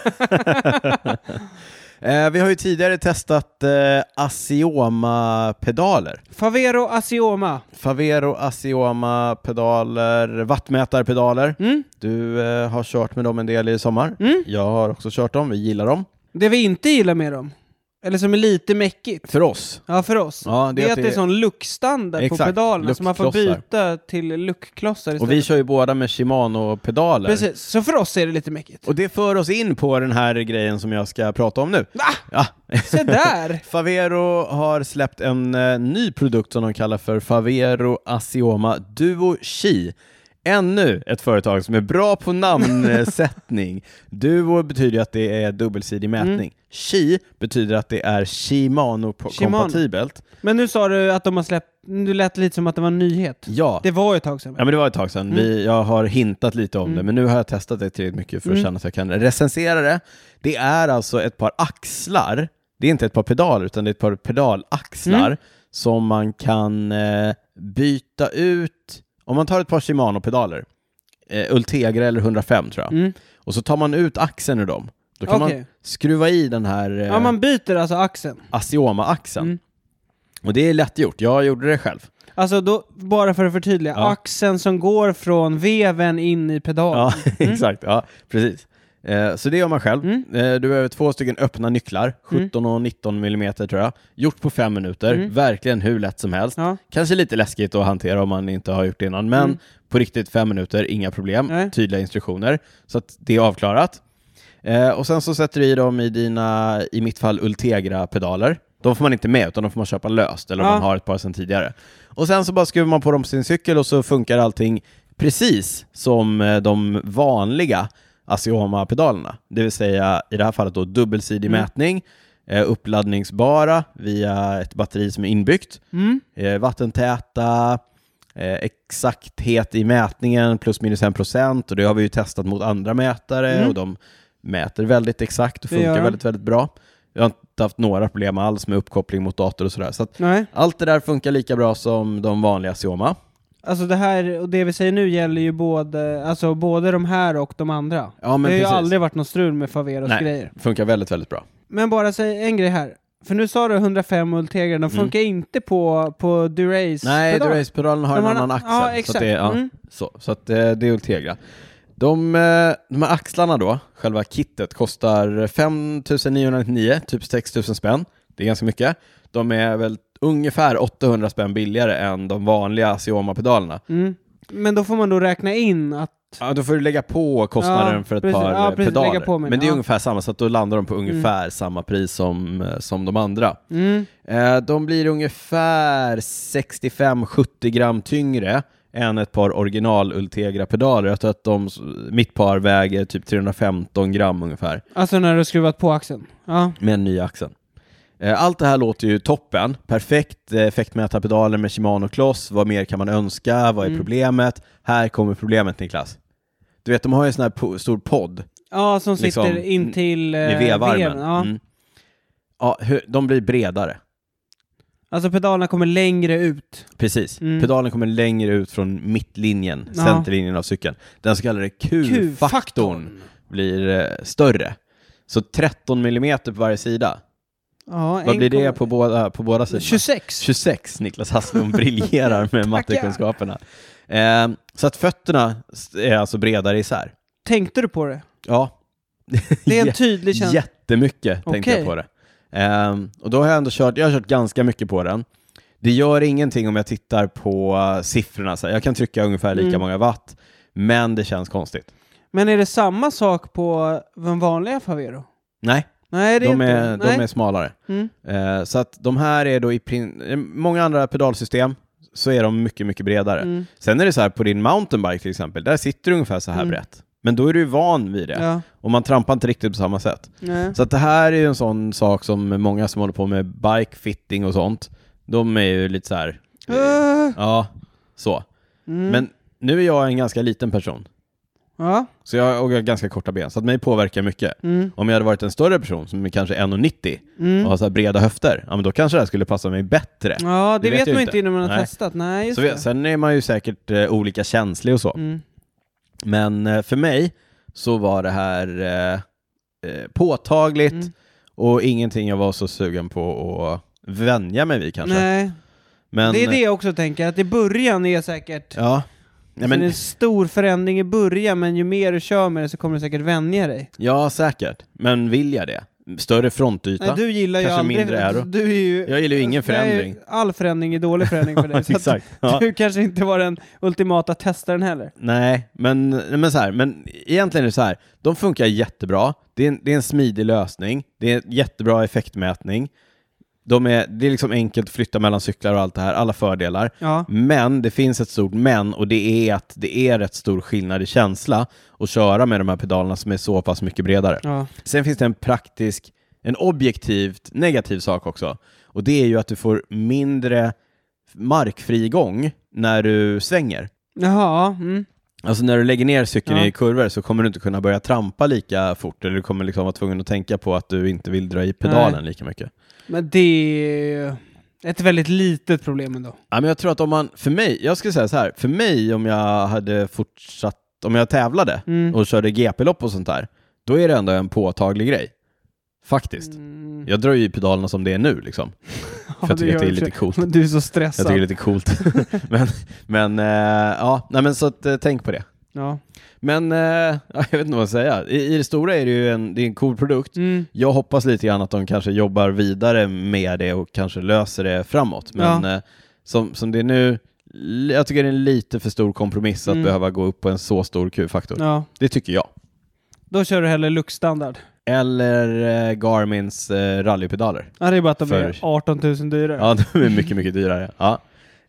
[SPEAKER 1] eh, vi har ju tidigare testat eh, Asioma-pedaler.
[SPEAKER 2] Favero Asioma.
[SPEAKER 1] Favero, Asioma, pedaler, vattmätarpedaler.
[SPEAKER 2] Mm.
[SPEAKER 1] Du eh, har kört med dem en del i sommar.
[SPEAKER 2] Mm.
[SPEAKER 1] Jag har också kört dem, vi gillar dem.
[SPEAKER 2] Det vi inte gillar med dem, eller som är lite mäckigt,
[SPEAKER 1] För oss.
[SPEAKER 2] ja för oss,
[SPEAKER 1] Ja, det
[SPEAKER 2] det, är att det är sån luckstandard på
[SPEAKER 1] Exakt,
[SPEAKER 2] pedalerna så man får
[SPEAKER 1] luckklossar.
[SPEAKER 2] byta till luckklossar istället.
[SPEAKER 1] Och vi kör ju båda med Shimano-pedaler.
[SPEAKER 2] Precis, så för oss är det lite mäckigt.
[SPEAKER 1] Och det för oss in på den här grejen som jag ska prata om nu.
[SPEAKER 2] Va?
[SPEAKER 1] Ja.
[SPEAKER 2] Se där!
[SPEAKER 1] Favero har släppt en eh, ny produkt som de kallar för Favero Asioma Duo Chi. Ännu ett företag som är bra på namnsättning. Duo betyder ju att det är dubbelsidig mätning. Chi betyder att det är Shimano-kompatibelt.
[SPEAKER 2] Men nu sa du att de har släppt, du lät lite som att det var en nyhet.
[SPEAKER 1] Ja.
[SPEAKER 2] Det var ju ett tag sedan.
[SPEAKER 1] Ja, men det var ett tag sedan.
[SPEAKER 2] Mm.
[SPEAKER 1] Vi, jag har hintat lite om det, men nu har jag testat det tillräckligt mycket för
[SPEAKER 2] Mm.
[SPEAKER 1] att känna att jag kan recensera det. Det är alltså ett par axlar. Det är inte ett par pedaler, utan det är ett par pedalaxlar
[SPEAKER 2] Mm.
[SPEAKER 1] som man kan eh, byta ut. Om man tar ett par Shimano-pedaler, eh, Ultegra eller 105 tror jag,
[SPEAKER 2] Mm.
[SPEAKER 1] och så tar man ut axeln ur dem. Då kan man
[SPEAKER 2] Okej.
[SPEAKER 1] skruva i den här eh,
[SPEAKER 2] Ja, man byter alltså axeln.
[SPEAKER 1] Asioma-axeln.
[SPEAKER 2] Mm.
[SPEAKER 1] Och det är lätt gjort. Jag gjorde det själv.
[SPEAKER 2] Alltså då, bara för att förtydliga,
[SPEAKER 1] Ja.
[SPEAKER 2] axeln som går från veven in i pedalen.
[SPEAKER 1] Ja, exakt. Ja, precis. Eh, Så det gör man själv.
[SPEAKER 2] Mm.
[SPEAKER 1] Eh, Du behöver två stycken öppna nycklar, 17 och 19 millimeter tror jag. Gjort på fem minuter, verkligen hur lätt som helst.
[SPEAKER 2] Mm. Ja.
[SPEAKER 1] Kanske lite läskigt att hantera om man inte har gjort det innan, men
[SPEAKER 2] Mm.
[SPEAKER 1] på riktigt fem minuter, inga problem,
[SPEAKER 2] Nej.
[SPEAKER 1] tydliga instruktioner. Så att det är avklarat. Eh, Och sen så sätter du i dem i dina, i mitt fall, Ultegra-pedaler. De får man inte med, utan de får man köpa löst, eller om
[SPEAKER 2] Ja.
[SPEAKER 1] man har ett par sedan tidigare. Och sen så bara skruvar man på dem på sin cykel och så funkar allting precis som eh, de vanliga Asioma-pedalerna. Det vill säga, i det här fallet då, dubbelsidig
[SPEAKER 2] Mm.
[SPEAKER 1] mätning, eh, uppladdningsbara via ett batteri som är inbyggt,
[SPEAKER 2] Mm.
[SPEAKER 1] eh, vattentäta, eh, exakthet i mätningen plus minus 1 procent och det har vi ju testat mot andra mätare
[SPEAKER 2] Mm.
[SPEAKER 1] och de mäter väldigt exakt och
[SPEAKER 2] Det gör
[SPEAKER 1] funkar
[SPEAKER 2] de.
[SPEAKER 1] väldigt, väldigt bra. Jag har inte haft några problem alls med uppkoppling mot dator och sådär. Så att
[SPEAKER 2] Nej.
[SPEAKER 1] allt det där funkar lika bra som de vanliga Sioma.
[SPEAKER 2] Alltså det här och det vi säger nu gäller ju både, alltså både de här och de andra.
[SPEAKER 1] Ja, men
[SPEAKER 2] det har
[SPEAKER 1] precis.
[SPEAKER 2] ju aldrig varit något strul med Faveros
[SPEAKER 1] Nej.
[SPEAKER 2] grejer.
[SPEAKER 1] Funkar väldigt, väldigt bra.
[SPEAKER 2] Men bara säg en grej här. För nu sa du 105 Ultegra, de funkar inte på, på Durace
[SPEAKER 1] Mm. Nej,
[SPEAKER 2] pedal.
[SPEAKER 1] Durace-pedalen har
[SPEAKER 2] De
[SPEAKER 1] en
[SPEAKER 2] har en-
[SPEAKER 1] annan axel.
[SPEAKER 2] ja,
[SPEAKER 1] Så,
[SPEAKER 2] exakt.
[SPEAKER 1] att det, är- ja,
[SPEAKER 2] Mm.
[SPEAKER 1] så, så att, eh, det är Ultegra. De, eh, de här axlarna då, själva kittet, kostar 5 999, typ 6 000 spänn. Det är ganska mycket. De är väl ungefär 800 spänn billigare än de vanliga Asioma-pedalerna.
[SPEAKER 2] Mm. Men då får man då räkna in att...
[SPEAKER 1] Ja, då får du lägga på kostnaden
[SPEAKER 2] Ja,
[SPEAKER 1] för ett
[SPEAKER 2] precis.
[SPEAKER 1] par
[SPEAKER 2] Ja,
[SPEAKER 1] eh,
[SPEAKER 2] precis.
[SPEAKER 1] pedaler.
[SPEAKER 2] Lägga på mig,
[SPEAKER 1] Men det är
[SPEAKER 2] ja.
[SPEAKER 1] ungefär samma, så att då landar de på ungefär samma pris som, eh, som de andra.
[SPEAKER 2] Mm.
[SPEAKER 1] Eh, De blir ungefär 65-70 gram tyngre än ett par original Ultegra-pedaler. Jag tror att de, mitt par väger typ 315 gram ungefär
[SPEAKER 2] Alltså när du har skruvat på axeln. Ja.
[SPEAKER 1] med en ny axel. Eh, Allt det här låter ju toppen. Perfekt eh, effektmätarpedaler med Shimano-kloss. Vad mer kan man önska? Vad är
[SPEAKER 2] Mm.
[SPEAKER 1] problemet? Här kommer problemet Niklas. Du vet, de har ju en sån här po- stor podd
[SPEAKER 2] ja, som sitter
[SPEAKER 1] Liksom,
[SPEAKER 2] in till eh,
[SPEAKER 1] med vevarmen.
[SPEAKER 2] veven, Ja.
[SPEAKER 1] Mm. Ja, hur- de blir bredare.
[SPEAKER 2] Alltså pedalerna kommer längre ut.
[SPEAKER 1] Precis.
[SPEAKER 2] Mm.
[SPEAKER 1] Pedalen kommer längre ut från mittlinjen,
[SPEAKER 2] Ja.
[SPEAKER 1] centerlinjen av cykeln. Den så kallade Q-faktorn blir eh, större. Så 13 millimeter på varje sida.
[SPEAKER 2] Ja,
[SPEAKER 1] Vad blir det
[SPEAKER 2] 1,-
[SPEAKER 1] på båda, på båda sidorna?
[SPEAKER 2] 26.
[SPEAKER 1] 26. Niklas Hasslum briljerar med mattekunskaperna. Eh, så att fötterna är alltså bredare isär.
[SPEAKER 2] Tänkte du på det?
[SPEAKER 1] Ja.
[SPEAKER 2] Det är en
[SPEAKER 1] Jä-
[SPEAKER 2] tydlig känsla.
[SPEAKER 1] Jättemycket tänkte jag
[SPEAKER 2] Okej.
[SPEAKER 1] på det. Ehm, och då har jag ändå kört, jag har kört ganska mycket på den. Det gör ingenting om jag tittar på eh, siffrorna, så här. jag kan trycka ungefär lika
[SPEAKER 2] Mm.
[SPEAKER 1] många watt, men det känns konstigt.
[SPEAKER 2] Men är det samma sak på den vanliga Favero?
[SPEAKER 1] Nej,
[SPEAKER 2] Nej, det
[SPEAKER 1] de,
[SPEAKER 2] är
[SPEAKER 1] är,
[SPEAKER 2] inte... nej.
[SPEAKER 1] de är smalare.
[SPEAKER 2] Mm.
[SPEAKER 1] Eh, så att de här är då i prin- eh, många andra pedalsystem så är de mycket, mycket bredare.
[SPEAKER 2] Mm.
[SPEAKER 1] Sen är det så här på din mountainbike till exempel, där sitter du ungefär så här
[SPEAKER 2] Mm.
[SPEAKER 1] brett. Men då är du ju van vid det
[SPEAKER 2] Ja.
[SPEAKER 1] och man trampar inte riktigt på samma sätt.
[SPEAKER 2] Nej.
[SPEAKER 1] Så att det här är ju en sån sak som många som håller på med bike fitting och sånt, de är ju lite så här,
[SPEAKER 2] Eh,
[SPEAKER 1] ja, så.
[SPEAKER 2] mm.
[SPEAKER 1] Men nu är jag en ganska liten person
[SPEAKER 2] Ja.
[SPEAKER 1] så jag, och jag har ganska korta ben, så att mig påverkar mycket.
[SPEAKER 2] Mm.
[SPEAKER 1] Om jag hade varit en större person som är kanske 1,90
[SPEAKER 2] Mm.
[SPEAKER 1] och har så här breda höfter, ja men då kanske det här skulle passa mig bättre.
[SPEAKER 2] Ja, det,
[SPEAKER 1] Det vet
[SPEAKER 2] vet
[SPEAKER 1] jag
[SPEAKER 2] man
[SPEAKER 1] inte.
[SPEAKER 2] inte innan man har
[SPEAKER 1] Nej.
[SPEAKER 2] testat. Nej, just
[SPEAKER 1] så
[SPEAKER 2] det.
[SPEAKER 1] vi, sen är man ju säkert eh, olika känslig och så.
[SPEAKER 2] Mm.
[SPEAKER 1] Men eh, för mig så var det här eh, eh, påtagligt
[SPEAKER 2] Mm.
[SPEAKER 1] och ingenting jag var så sugen på att vänja mig vid kanske.
[SPEAKER 2] Nej,
[SPEAKER 1] men, eh,
[SPEAKER 2] det är det jag också tänker, att i början är säkert...
[SPEAKER 1] Ja. Nej,
[SPEAKER 2] Så det är
[SPEAKER 1] men,
[SPEAKER 2] en stor förändring i början, men ju mer du kör med det så kommer du säkert vänja dig.
[SPEAKER 1] ja, säkert. Men vill jag det? Större
[SPEAKER 2] Nej,
[SPEAKER 1] frontyta?
[SPEAKER 2] du gillar ju
[SPEAKER 1] Kanske
[SPEAKER 2] aldrig...
[SPEAKER 1] mindre aero.
[SPEAKER 2] Du är ju...
[SPEAKER 1] Jag gillar ju ingen
[SPEAKER 2] Nej,
[SPEAKER 1] förändring.
[SPEAKER 2] All förändring är dålig förändring för dig. så att
[SPEAKER 1] Exakt. Ja.
[SPEAKER 2] Du kanske inte var den ultimata testaren heller.
[SPEAKER 1] Nej, men, nej, men, så här, men egentligen är det så här. De funkar jättebra. Det är en, det är en smidig lösning. Det är en jättebra effektmätning. De är, det är liksom enkelt att flytta mellan cyklar och allt det här, alla fördelar.
[SPEAKER 2] Ja.
[SPEAKER 1] Men det finns ett stort men och det är att det är rätt stor skillnad i känsla att köra med de här pedalerna som är så pass mycket bredare.
[SPEAKER 2] Ja.
[SPEAKER 1] Sen finns det en praktisk, en objektivt negativ sak också. Och det är ju att du får mindre markfrigång när du svänger.
[SPEAKER 2] Jaha, mm.
[SPEAKER 1] Alltså när du lägger ner cykeln
[SPEAKER 2] Ja.
[SPEAKER 1] i kurvor så kommer du inte kunna börja trampa lika fort eller du kommer liksom vara tvungen att tänka på att du inte vill dra i pedalen
[SPEAKER 2] Nej.
[SPEAKER 1] lika mycket.
[SPEAKER 2] Men det är ju ett väldigt litet problem ändå.
[SPEAKER 1] Ja, men jag tror att om man, för mig, jag skulle säga så här, för mig om jag hade fortsatt, om jag tävlade
[SPEAKER 2] Mm.
[SPEAKER 1] och körde GP-lopp och sånt där, då är det ändå en påtaglig grej. Faktiskt.
[SPEAKER 2] Mm.
[SPEAKER 1] Jag drar ju i pedalerna som det är nu liksom.
[SPEAKER 2] Ja,
[SPEAKER 1] jag tycker att det är
[SPEAKER 2] gör
[SPEAKER 1] lite
[SPEAKER 2] du.
[SPEAKER 1] coolt.
[SPEAKER 2] Men du är så
[SPEAKER 1] Jag
[SPEAKER 2] stressad.
[SPEAKER 1] tycker det är lite coolt. men, men, eh, ja, nej men så att, eh, tänk på det.
[SPEAKER 2] Ja.
[SPEAKER 1] Men, eh, ja, jag vet inte vad jag ska säga. I, I det stora är det ju en, det är en cool produkt.
[SPEAKER 2] Mm.
[SPEAKER 1] Jag hoppas lite grann att de kanske jobbar vidare med det och kanske löser det framåt. Men eh, som, som det är nu, l- jag tycker det är en lite för stor kompromiss att
[SPEAKER 2] Mm.
[SPEAKER 1] behöva gå upp på en så stor Q-faktor.
[SPEAKER 2] ja.
[SPEAKER 1] Det tycker jag.
[SPEAKER 2] Då kör du hellre luxstandard.
[SPEAKER 1] Eller eh, Garmins eh, rallypedaler.
[SPEAKER 2] Ja, det är bara att de
[SPEAKER 1] För-
[SPEAKER 2] är 18 000 dyrare.
[SPEAKER 1] Ja, de är mycket, mycket dyrare. Ja.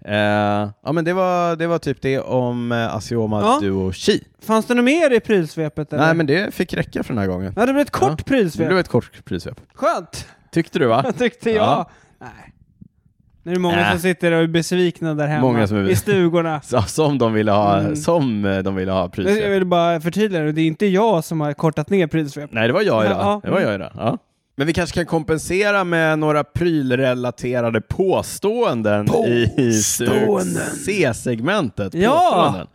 [SPEAKER 1] Eh, ja, men det var, det var typ det om eh, Asioma
[SPEAKER 2] Ja.
[SPEAKER 1] Duo Chi.
[SPEAKER 2] Fanns det något mer i prylsvepet? eller?
[SPEAKER 1] Nej, men det fick räcka för den här gången.
[SPEAKER 2] Ja, det blev ett kort
[SPEAKER 1] Ja. Det
[SPEAKER 2] prylsvep.
[SPEAKER 1] blev ett kort prissvep.
[SPEAKER 2] Skönt,
[SPEAKER 1] Tyckte du va?
[SPEAKER 2] tyckte jag.
[SPEAKER 1] Ja.
[SPEAKER 2] Nej. Nu är det många
[SPEAKER 1] Äh.
[SPEAKER 2] som sitter och är besvikna där hemma
[SPEAKER 1] Många som är-
[SPEAKER 2] i stugorna.
[SPEAKER 1] Så, som de ville ha,
[SPEAKER 2] Mm.
[SPEAKER 1] som eh, de ville ha
[SPEAKER 2] Men
[SPEAKER 1] prissvep.
[SPEAKER 2] Jag vill bara förtydliga det, det är inte jag som har kortat ner prylsvep.
[SPEAKER 1] Nej, det var jag idag.
[SPEAKER 2] Ja.
[SPEAKER 1] Det var jag idag. Ja. Men vi kanske kan kompensera med några prylrelaterade påståenden,
[SPEAKER 2] Påståenden.
[SPEAKER 1] i C-segmentet.
[SPEAKER 2] Ja.
[SPEAKER 1] Påståenden.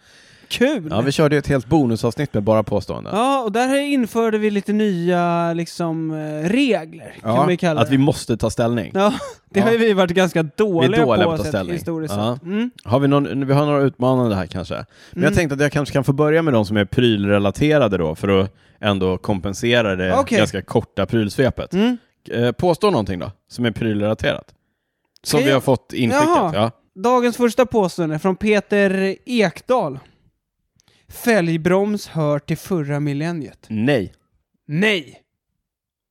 [SPEAKER 2] Kul!
[SPEAKER 1] ja, vi körde ju ett helt bonusavsnitt med bara påståenden.
[SPEAKER 2] Ja, och där införde vi lite nya liksom, eh, regler,
[SPEAKER 1] Ja,
[SPEAKER 2] kan vi kalla
[SPEAKER 1] att
[SPEAKER 2] det.
[SPEAKER 1] vi måste ta ställning.
[SPEAKER 2] Ja, det har ju vi varit ganska dåliga,
[SPEAKER 1] Vi är dåliga på att ta
[SPEAKER 2] sett
[SPEAKER 1] ställning.
[SPEAKER 2] historiskt
[SPEAKER 1] Ja.
[SPEAKER 2] sett. Mm.
[SPEAKER 1] Har vi, någon, vi har några utmanande här kanske. Men jag
[SPEAKER 2] Mm.
[SPEAKER 1] tänkte att jag kanske kan få börja med de som är prylrelaterade då, för att ändå kompensera det
[SPEAKER 2] Okej.
[SPEAKER 1] ganska korta prylsvepet.
[SPEAKER 2] Mm.
[SPEAKER 1] Eh, Påstå någonting då, som är prylrelaterat. Som
[SPEAKER 2] Okej.
[SPEAKER 1] vi har fått inskickat.
[SPEAKER 2] Jaha.
[SPEAKER 1] Ja.
[SPEAKER 2] Dagens första påstående från Peter Ekdahl. Fälgbroms hör till förra millenniet.
[SPEAKER 1] Nej.
[SPEAKER 2] Nej!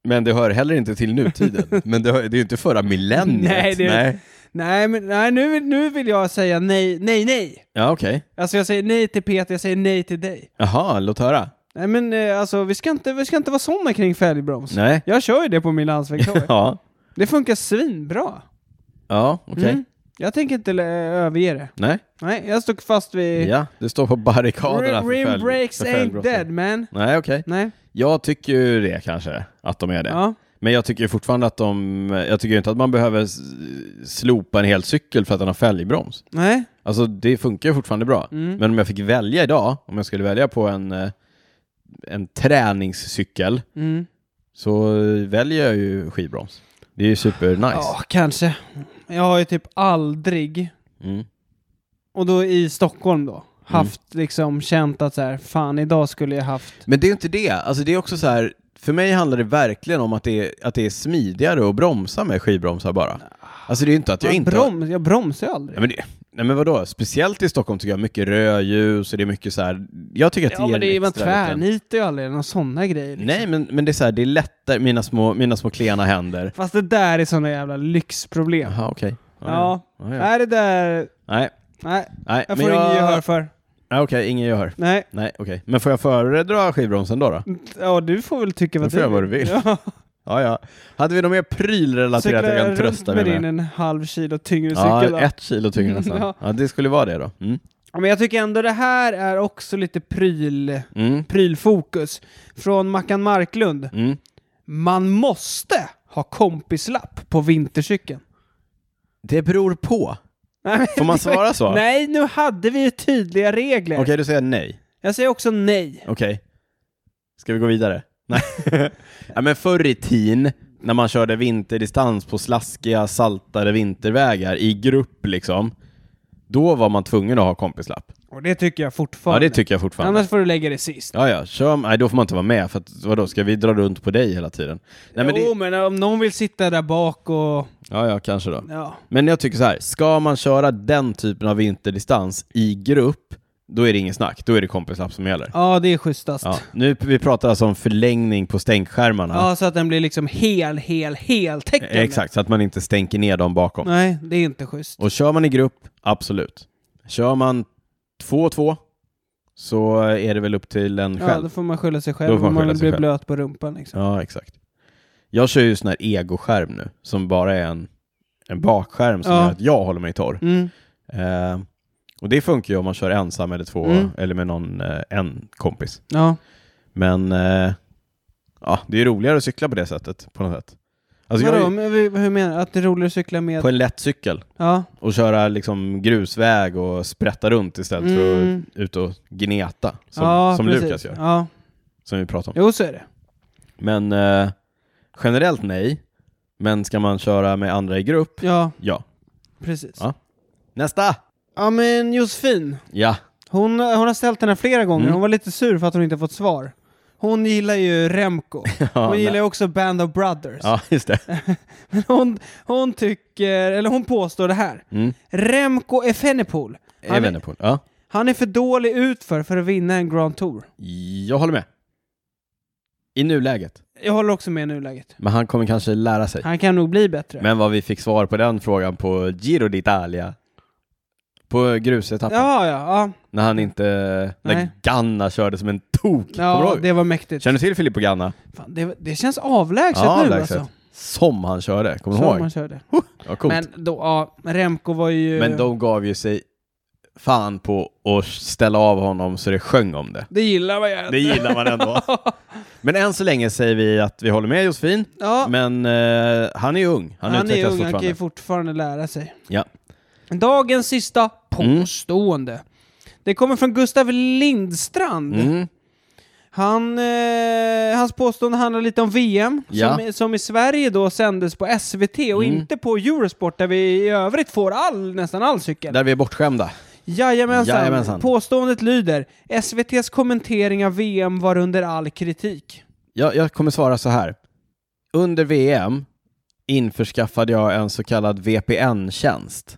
[SPEAKER 1] Men det hör heller inte till nutiden. Men det, hör, det är ju inte förra millenniet.
[SPEAKER 2] Nej, det är- Nej, men nej, nu, nu vill jag säga nej, nej, nej.
[SPEAKER 1] Ja, okej.
[SPEAKER 2] Alltså jag säger nej till Peter, jag säger nej till dig.
[SPEAKER 1] Jaha, låt höra.
[SPEAKER 2] Nej men eh, alltså, vi ska inte, vi ska inte vara såna kring fälgbroms.
[SPEAKER 1] Nej.
[SPEAKER 2] Jag kör ju det på min landsvägstorg.
[SPEAKER 1] Ja,
[SPEAKER 2] det funkar svinbra.
[SPEAKER 1] ja okej.
[SPEAKER 2] Mm. Jag tänker inte eh, överge det.
[SPEAKER 1] Nej.
[SPEAKER 2] Nej, jag står fast vid...
[SPEAKER 1] Ja, du står på barrikaderna
[SPEAKER 2] Rim,
[SPEAKER 1] för följ-
[SPEAKER 2] rim breaks
[SPEAKER 1] för
[SPEAKER 2] Eh. ain't
[SPEAKER 1] följdbrott.
[SPEAKER 2] dead man.
[SPEAKER 1] Nej, okej.
[SPEAKER 2] Nej.
[SPEAKER 1] Jag tycker ju det kanske, att de är det.
[SPEAKER 2] Ja.
[SPEAKER 1] Men jag tycker ju fortfarande att de... Jag tycker ju inte att man behöver s- slopa en hel cykel för att den har fälgbroms.
[SPEAKER 2] Nej.
[SPEAKER 1] Alltså det funkar ju fortfarande bra.
[SPEAKER 2] Mm.
[SPEAKER 1] Men om jag fick välja idag, om jag skulle välja på en, eh, en träningscykel,
[SPEAKER 2] Mm.
[SPEAKER 1] så eh, väljer jag ju skivbroms. Det är ju supernice.
[SPEAKER 2] Ja, kanske. Jag har ju typ aldrig,
[SPEAKER 1] Mm.
[SPEAKER 2] och då i Stockholm då, haft liksom känt att så här, fan idag skulle jag haft...
[SPEAKER 1] Men det är ju inte det. Alltså det är också så här, för mig handlar det verkligen om att det är, att det är smidigare att bromsa med skivbromsar bara. Alltså det är ju inte att jag
[SPEAKER 2] Man
[SPEAKER 1] inte... har-
[SPEAKER 2] broms, jag bromsar ju aldrig.
[SPEAKER 1] Nej men, det, nej men vadå, speciellt i Stockholm tycker jag mycket rödljus och det är mycket så här. jag tycker att det
[SPEAKER 2] ja,
[SPEAKER 1] ger
[SPEAKER 2] men det är,
[SPEAKER 1] en
[SPEAKER 2] man
[SPEAKER 1] extra liten-
[SPEAKER 2] tvärnitar ju aldrig, några sådana grejer. Liksom.
[SPEAKER 1] Nej men, men det är så här, det är lättare, mina små, mina små klena händer.
[SPEAKER 2] Fast det där är sådana jävla lyxproblem.
[SPEAKER 1] Jaha okej.
[SPEAKER 2] Ja.
[SPEAKER 1] Ja, ja.
[SPEAKER 2] Nej, det där...
[SPEAKER 1] Nej,
[SPEAKER 2] Nej,
[SPEAKER 1] nej.
[SPEAKER 2] jag
[SPEAKER 1] men
[SPEAKER 2] får inget gehör för.
[SPEAKER 1] Nej, Okej, ingen gehör.
[SPEAKER 2] Nej.
[SPEAKER 1] Nej, okej. Men får jag föredra skivbromsen då? då?
[SPEAKER 2] Ja, du får väl tycka vad
[SPEAKER 1] får jag vad du vill.
[SPEAKER 2] Ja,
[SPEAKER 1] Ja, ja. Hade vi något mer prylrelaterat
[SPEAKER 2] cykla
[SPEAKER 1] jag kan
[SPEAKER 2] runt
[SPEAKER 1] trösta
[SPEAKER 2] med
[SPEAKER 1] mig
[SPEAKER 2] din
[SPEAKER 1] med?
[SPEAKER 2] en halv kilo tyngre cykel.
[SPEAKER 1] Ja,
[SPEAKER 2] då.
[SPEAKER 1] ett kilo tyngre nästan.
[SPEAKER 2] Ja.
[SPEAKER 1] ja. det skulle vara det då. Mm.
[SPEAKER 2] Ja, Men jag tycker ändå det här är också lite pryl,
[SPEAKER 1] Mm.
[SPEAKER 2] prylfokus. Från Mackan Marklund.
[SPEAKER 1] Mm.
[SPEAKER 2] Man måste ha kompislapp på vintercykeln.
[SPEAKER 1] Det beror på.
[SPEAKER 2] Nej, men
[SPEAKER 1] Får man
[SPEAKER 2] det-
[SPEAKER 1] svara så?
[SPEAKER 2] Nej, nu hade vi ju tydliga regler.
[SPEAKER 1] Okej, du säger nej.
[SPEAKER 2] Jag säger också nej.
[SPEAKER 1] Okej. Ska vi gå vidare? Nej. ja, men förr i tiden, när man körde vinterdistans på slaskiga, saltade vintervägar i grupp liksom, då var man tvungen att ha kompislapp.
[SPEAKER 2] Och det tycker jag
[SPEAKER 1] Ja,
[SPEAKER 2] fortfarande.
[SPEAKER 1] det tycker jag fortfarande.
[SPEAKER 2] Annars får du lägga det sist.
[SPEAKER 1] Ja, ja, kör, nej då får man inte vara med, för att, vadå, ska vi dra runt på dig hela tiden? Nej, men
[SPEAKER 2] jo,
[SPEAKER 1] det,
[SPEAKER 2] men om någon vill sitta där bak och...
[SPEAKER 1] ja, ja, kanske då.
[SPEAKER 2] Ja.
[SPEAKER 1] Men jag tycker så här, ska man köra den typen av vinterdistans i grupp, då är det ingen snack, då är det kompislapp som gäller.
[SPEAKER 2] ja, det är schysstast.
[SPEAKER 1] Ja, nu, vi pratar alltså om förlängning på stänkskärmarna.
[SPEAKER 2] Ja, så att den blir liksom hel, hel, heltäckande.
[SPEAKER 1] Exakt, så att man inte stänker ner dem bakom.
[SPEAKER 2] Nej, det är inte schysst.
[SPEAKER 1] Och kör man i grupp, absolut. Kör man två och två, så är det väl upp till en
[SPEAKER 2] Ja,
[SPEAKER 1] själv.
[SPEAKER 2] då får man skylla sig
[SPEAKER 1] Då
[SPEAKER 2] själv
[SPEAKER 1] får man
[SPEAKER 2] om man
[SPEAKER 1] skylla
[SPEAKER 2] vill
[SPEAKER 1] sig
[SPEAKER 2] bli
[SPEAKER 1] själv.
[SPEAKER 2] blöt på rumpan. Liksom.
[SPEAKER 1] Ja, exakt. Jag kör ju sån här egoskärm nu, som bara är en, en bakskärm som
[SPEAKER 2] Ja.
[SPEAKER 1] gör att jag håller mig torr.
[SPEAKER 2] Mm.
[SPEAKER 1] Eh, och det funkar ju om man kör ensam eller två,
[SPEAKER 2] Mm.
[SPEAKER 1] eller med någon, eh, en kompis.
[SPEAKER 2] Ja.
[SPEAKER 1] Men eh, ja, det är roligare att cykla på det sättet, på något sätt. Alltså, jag
[SPEAKER 2] Vadå,
[SPEAKER 1] är ju
[SPEAKER 2] men vi- hur menar du? Att det är roligare att cykla med...
[SPEAKER 1] på en lätt cykel
[SPEAKER 2] Ja.
[SPEAKER 1] och köra liksom grusväg och sprätta runt istället för att
[SPEAKER 2] Mm.
[SPEAKER 1] ut och gneta, som,
[SPEAKER 2] ja,
[SPEAKER 1] som
[SPEAKER 2] precis.
[SPEAKER 1] Lukas gör,
[SPEAKER 2] Ja.
[SPEAKER 1] som vi pratade om.
[SPEAKER 2] Jo, så är det.
[SPEAKER 1] Men eh, generellt nej, men ska man köra med andra i grupp,
[SPEAKER 2] Ja,
[SPEAKER 1] ja.
[SPEAKER 2] precis. Ja,
[SPEAKER 1] Ja. Nästa!
[SPEAKER 2] men Josefin,
[SPEAKER 1] Ja,
[SPEAKER 2] hon, hon har ställt den här flera gånger.
[SPEAKER 1] Mm.
[SPEAKER 2] Hon var lite sur för att hon inte fått svar. Hon gillar ju Remco. Hon
[SPEAKER 1] nej.
[SPEAKER 2] gillar ju också Band of Brothers.
[SPEAKER 1] ja just det.
[SPEAKER 2] Hon, hon tycker, eller hon påstår det här.
[SPEAKER 1] Mm.
[SPEAKER 2] Remco Evenepoel. Han, är-
[SPEAKER 1] Evenepoel. Ja.
[SPEAKER 2] han är för dålig utför för att vinna en Grand Tour.
[SPEAKER 1] Jag håller med. I nuläget.
[SPEAKER 2] Jag håller också med i nuläget.
[SPEAKER 1] Men han kommer kanske lära sig.
[SPEAKER 2] Han kan nog bli bättre.
[SPEAKER 1] Men vad vi fick svar på den frågan på Giro d'Italia. På grusetappen.
[SPEAKER 2] ja, ja, ja.
[SPEAKER 1] När han inte...
[SPEAKER 2] Nej.
[SPEAKER 1] När Ganna körde som en tok. Kommer du
[SPEAKER 2] ja
[SPEAKER 1] ihåg?
[SPEAKER 2] det var mäktigt.
[SPEAKER 1] Känner du till Filippo Ganna?
[SPEAKER 2] Fan, det, det känns avlägset nu
[SPEAKER 1] lägset.
[SPEAKER 2] alltså.
[SPEAKER 1] Som han körde. Kommer du
[SPEAKER 2] Som
[SPEAKER 1] ihåg?
[SPEAKER 2] man körde.
[SPEAKER 1] Ja, coolt. Men,
[SPEAKER 2] Men då, ja, Remco var ju...
[SPEAKER 1] de gav ju sig fan på att ställa av honom så det sjöng om det.
[SPEAKER 2] Det gillar man ju.
[SPEAKER 1] Det gillar man ändå. Men än så länge säger vi att vi håller med Josefin.
[SPEAKER 2] Ja,
[SPEAKER 1] Men eh, han är ju ung. Han,
[SPEAKER 2] han, är
[SPEAKER 1] utvecklas
[SPEAKER 2] ung, han kan
[SPEAKER 1] fortfarande.
[SPEAKER 2] ju fortfarande lära sig.
[SPEAKER 1] Ja.
[SPEAKER 2] Dagens sista
[SPEAKER 1] Mm.
[SPEAKER 2] påstående. Det kommer från Gustav Lindstrand.
[SPEAKER 1] Mm.
[SPEAKER 2] Han, eh, hans påstående handlar lite om VM,
[SPEAKER 1] Ja. Mm.
[SPEAKER 2] som, som i Sverige då sändes på SVT och inte på Eurosport där vi i övrigt får all, nästan all cykel.
[SPEAKER 1] Där vi är bortskämda.
[SPEAKER 2] Jajamensan.
[SPEAKER 1] Jajamensan.
[SPEAKER 2] Påståendet lyder SVTs kommentering av VM var under all kritik.
[SPEAKER 1] Jag, jag kommer svara så här. Under VM införskaffade jag en så kallad VPN-tjänst.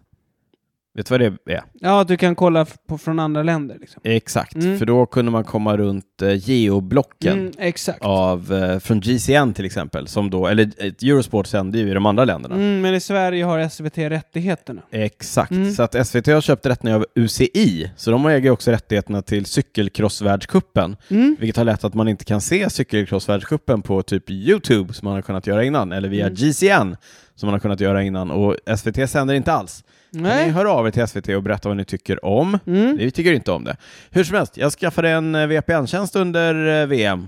[SPEAKER 1] Vet du vad det är?
[SPEAKER 2] Ja, att du kan kolla f- på, från andra länder liksom.
[SPEAKER 1] Exakt,
[SPEAKER 2] Mm.
[SPEAKER 1] för då kunde man komma runt eh, geoblocken
[SPEAKER 2] Mm, exakt.
[SPEAKER 1] av, eh, från GCN till exempel, som då, eller eh, Eurosport sände ju i de andra länderna.
[SPEAKER 2] Mm, men i Sverige har SVT rättigheterna.
[SPEAKER 1] Exakt,
[SPEAKER 2] Mm.
[SPEAKER 1] så att SVT har köpt rättigheterna av UCI, så de äger också rättigheterna till cykelcrossvärldscupen,
[SPEAKER 2] Mm.
[SPEAKER 1] vilket har lett att man inte kan se cykelcrossvärldscupen på typ YouTube som man har kunnat göra innan, eller
[SPEAKER 2] Mm.
[SPEAKER 1] via GCN som man har kunnat göra innan, och SVT sänder inte alls. Kan ni
[SPEAKER 2] Nej.
[SPEAKER 1] höra av er till SVT och berätta vad ni tycker om?
[SPEAKER 2] Mm.
[SPEAKER 1] Vi tycker inte om det. Hur som helst, jag skaffade en eh, VPN-tjänst under eh, VM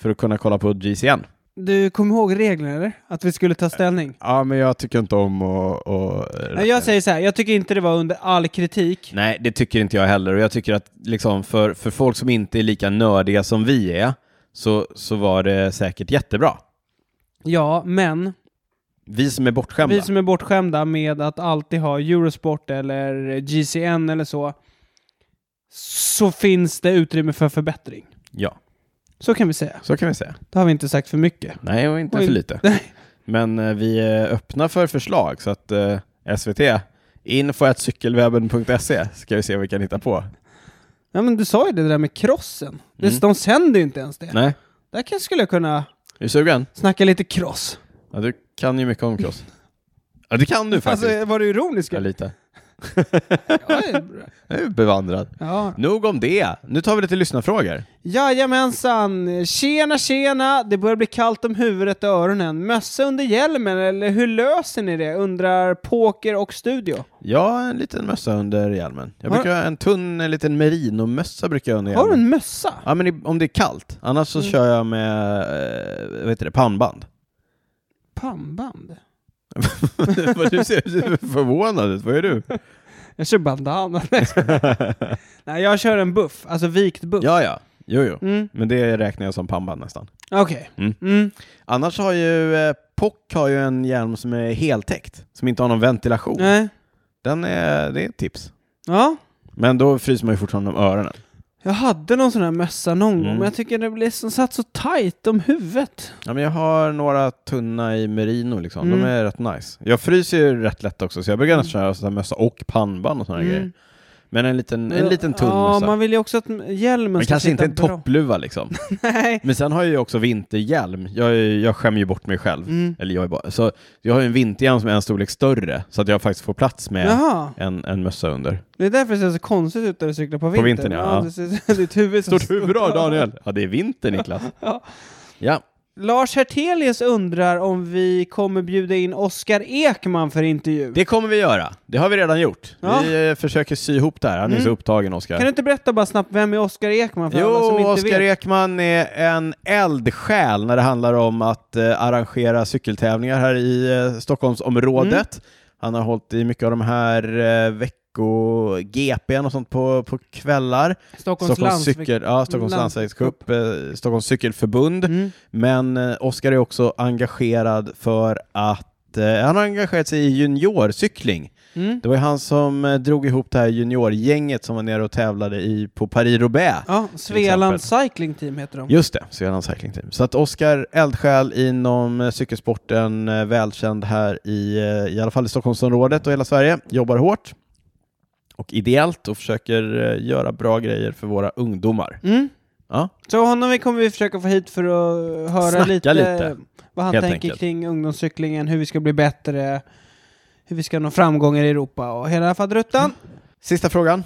[SPEAKER 1] för att kunna kolla på GCN.
[SPEAKER 2] Du kommer ihåg reglerna eller? Att vi skulle ta ställning?
[SPEAKER 1] Ja, men jag tycker inte om att... att-
[SPEAKER 2] Nej, jag säger så här, jag tycker inte det var under all kritik.
[SPEAKER 1] Nej, det tycker inte jag heller. Och jag tycker att liksom, för, för folk som inte är lika nördiga som vi är, så, så var det säkert jättebra.
[SPEAKER 2] Ja, men
[SPEAKER 1] Vi som är bortskämda.
[SPEAKER 2] vi som är bortskämda med att alltid ha Eurosport eller GCN eller så, så finns det utrymme för förbättring.
[SPEAKER 1] Ja,
[SPEAKER 2] Så kan vi säga.
[SPEAKER 1] så kan vi säga.
[SPEAKER 2] Då har vi inte sagt för mycket.
[SPEAKER 1] Nej, och inte
[SPEAKER 2] Oj.
[SPEAKER 1] för lite. Men eh, vi är öppna för förslag, så att eh, SVT, info.cykelwebben.se ska vi se vad vi kan hitta på.
[SPEAKER 2] Ja, men du sa ju det där med krossen. Mm. De sänder ju inte ens det.
[SPEAKER 1] Nej,
[SPEAKER 2] Där kanske skulle jag kunna
[SPEAKER 1] är du sugen?
[SPEAKER 2] snacka lite cross.
[SPEAKER 1] Ja, du kan ju mycket om cross. Ja, det kan du faktiskt.
[SPEAKER 2] Alltså, var du ironisk?
[SPEAKER 1] ja, lite.
[SPEAKER 2] Ja, det är bra.
[SPEAKER 1] Jag är bevandrad.
[SPEAKER 2] ja.
[SPEAKER 1] Nog om det. Nu tar vi lite lyssnarfrågor.
[SPEAKER 2] Jajamensan! Tjena, tjena! Det börjar bli kallt om huvudet och öronen. Mössa under hjälmen, eller hur löser ni det? Undrar Poker och Studio.
[SPEAKER 1] Ja, en liten mössa under hjälmen. Jag
[SPEAKER 2] Har-
[SPEAKER 1] brukar ha en tunn en liten merinomössa brukar jag ha under
[SPEAKER 2] Har du
[SPEAKER 1] hjälmen.
[SPEAKER 2] en Mm. mössa?
[SPEAKER 1] Ja, men i- om det är kallt. Annars så kör jag med, eh, vad heter det, pannband.
[SPEAKER 2] Pannband?
[SPEAKER 1] Vad du ser du ser förvånad ut, vad är du?
[SPEAKER 2] Mm. Jag kör bandana. Nej, jag skojar. Nej, jag kör en buff. Alltså vikt buff.
[SPEAKER 1] Ja, ja. Jo, jo.
[SPEAKER 2] Mm.
[SPEAKER 1] Men det räknar jag som pannband nästan.
[SPEAKER 2] Okej.
[SPEAKER 1] Mm.
[SPEAKER 2] Mm.
[SPEAKER 1] Annars har ju eh, Pock har ju en hjälm som är heltäckt, som inte har någon ventilation.
[SPEAKER 2] Nej.
[SPEAKER 1] Den är, det är ett tips.
[SPEAKER 2] Ja.
[SPEAKER 1] Men då fryser man ju fortfarande om öronen.
[SPEAKER 2] Jag hade någon sån här mössa någon gång,
[SPEAKER 1] Mm.
[SPEAKER 2] men jag tycker det blev som satt så tajt om huvudet.
[SPEAKER 1] Ja, men jag har några tunna i merino liksom.
[SPEAKER 2] Mm.
[SPEAKER 1] De är rätt nice. Jag fryser ju rätt lätt också, så jag brukar nästan köra sådär mössa och pannband och sådana
[SPEAKER 2] Mm.
[SPEAKER 1] grejer. Men en liten, en
[SPEAKER 2] Ja,
[SPEAKER 1] liten tunn
[SPEAKER 2] Ja,
[SPEAKER 1] mössa.
[SPEAKER 2] man vill ju också att hjälmen
[SPEAKER 1] Men
[SPEAKER 2] ska
[SPEAKER 1] kanske inte
[SPEAKER 2] sitta
[SPEAKER 1] en
[SPEAKER 2] bra.
[SPEAKER 1] toppluva liksom.
[SPEAKER 2] Nej.
[SPEAKER 1] Men sen har jag ju också vinterhjälm. Jag, är- jag skämmer ju bort mig själv.
[SPEAKER 2] Mm.
[SPEAKER 1] Eller jag är bara... Så jag har ju en vinterhjälm som är en storlek större, så att jag faktiskt får plats med
[SPEAKER 2] Jaha.
[SPEAKER 1] en, en mössa under.
[SPEAKER 2] Det är därför det ser så konstigt ut när du cyklar på vintern.
[SPEAKER 1] vintern, ja.
[SPEAKER 2] det ser, ditt huvud är så
[SPEAKER 1] Stort huvud då, Daniel! Ja, det är vinter, Niklas.
[SPEAKER 2] Ja.
[SPEAKER 1] Ja.
[SPEAKER 2] Lars Hertelius undrar om vi kommer bjuda in Oskar Ekman för intervju.
[SPEAKER 1] Det kommer vi göra. Det har vi redan gjort.
[SPEAKER 2] Ja. Mm.
[SPEAKER 1] Vi eh, försöker sy ihop det här. Han är så upptagen, Oskar.
[SPEAKER 2] Kan du inte berätta bara snabbt, vem är Oskar Ekman för alla som
[SPEAKER 1] Jo,
[SPEAKER 2] inte
[SPEAKER 1] Oskar
[SPEAKER 2] vet?
[SPEAKER 1] Ekman är en eldsjäl när det handlar om att eh, arrangera cykeltävlingar här i eh, Stockholmsområdet.
[SPEAKER 2] Mm.
[SPEAKER 1] Han har hållit i mycket av de här eh, vecko GPn och sånt på, på kvällar.
[SPEAKER 2] Stockholms, landsväg-
[SPEAKER 1] cykel, ja, Stockholms
[SPEAKER 2] lands-
[SPEAKER 1] landsvägscup, eh, Stockholms cykelförbund.
[SPEAKER 2] Mm.
[SPEAKER 1] Men eh, Oskar är också engagerad för att eh, han har engagerat sig i juniorcykling.
[SPEAKER 2] Mm.
[SPEAKER 1] Det var ju han som eh, drog ihop det här juniorgänget som var nere och tävlade i, på Paris-Roubaix.
[SPEAKER 2] Ja, Svealand Cycling Team heter de.
[SPEAKER 1] Just det, Svealand Cycling Team. Så att Oskar, eldsjäl inom eh, cykelsporten, eh, välkänd här i, eh, i alla fall i Stockholmsområdet och hela Sverige, jobbar hårt och ideellt och försöker eh, göra bra grejer för våra ungdomar.
[SPEAKER 2] Mm.
[SPEAKER 1] Ja.
[SPEAKER 2] Så honom vi kommer vi försöka få hit för att höra
[SPEAKER 1] Snacka
[SPEAKER 2] lite,
[SPEAKER 1] lite,
[SPEAKER 2] vad han
[SPEAKER 1] helt
[SPEAKER 2] tänker
[SPEAKER 1] enkelt.
[SPEAKER 2] kring ungdomscyklingen, hur vi ska bli bättre, hur vi ska nå framgångar i Europa och hela faderuttan.
[SPEAKER 1] Sista frågan.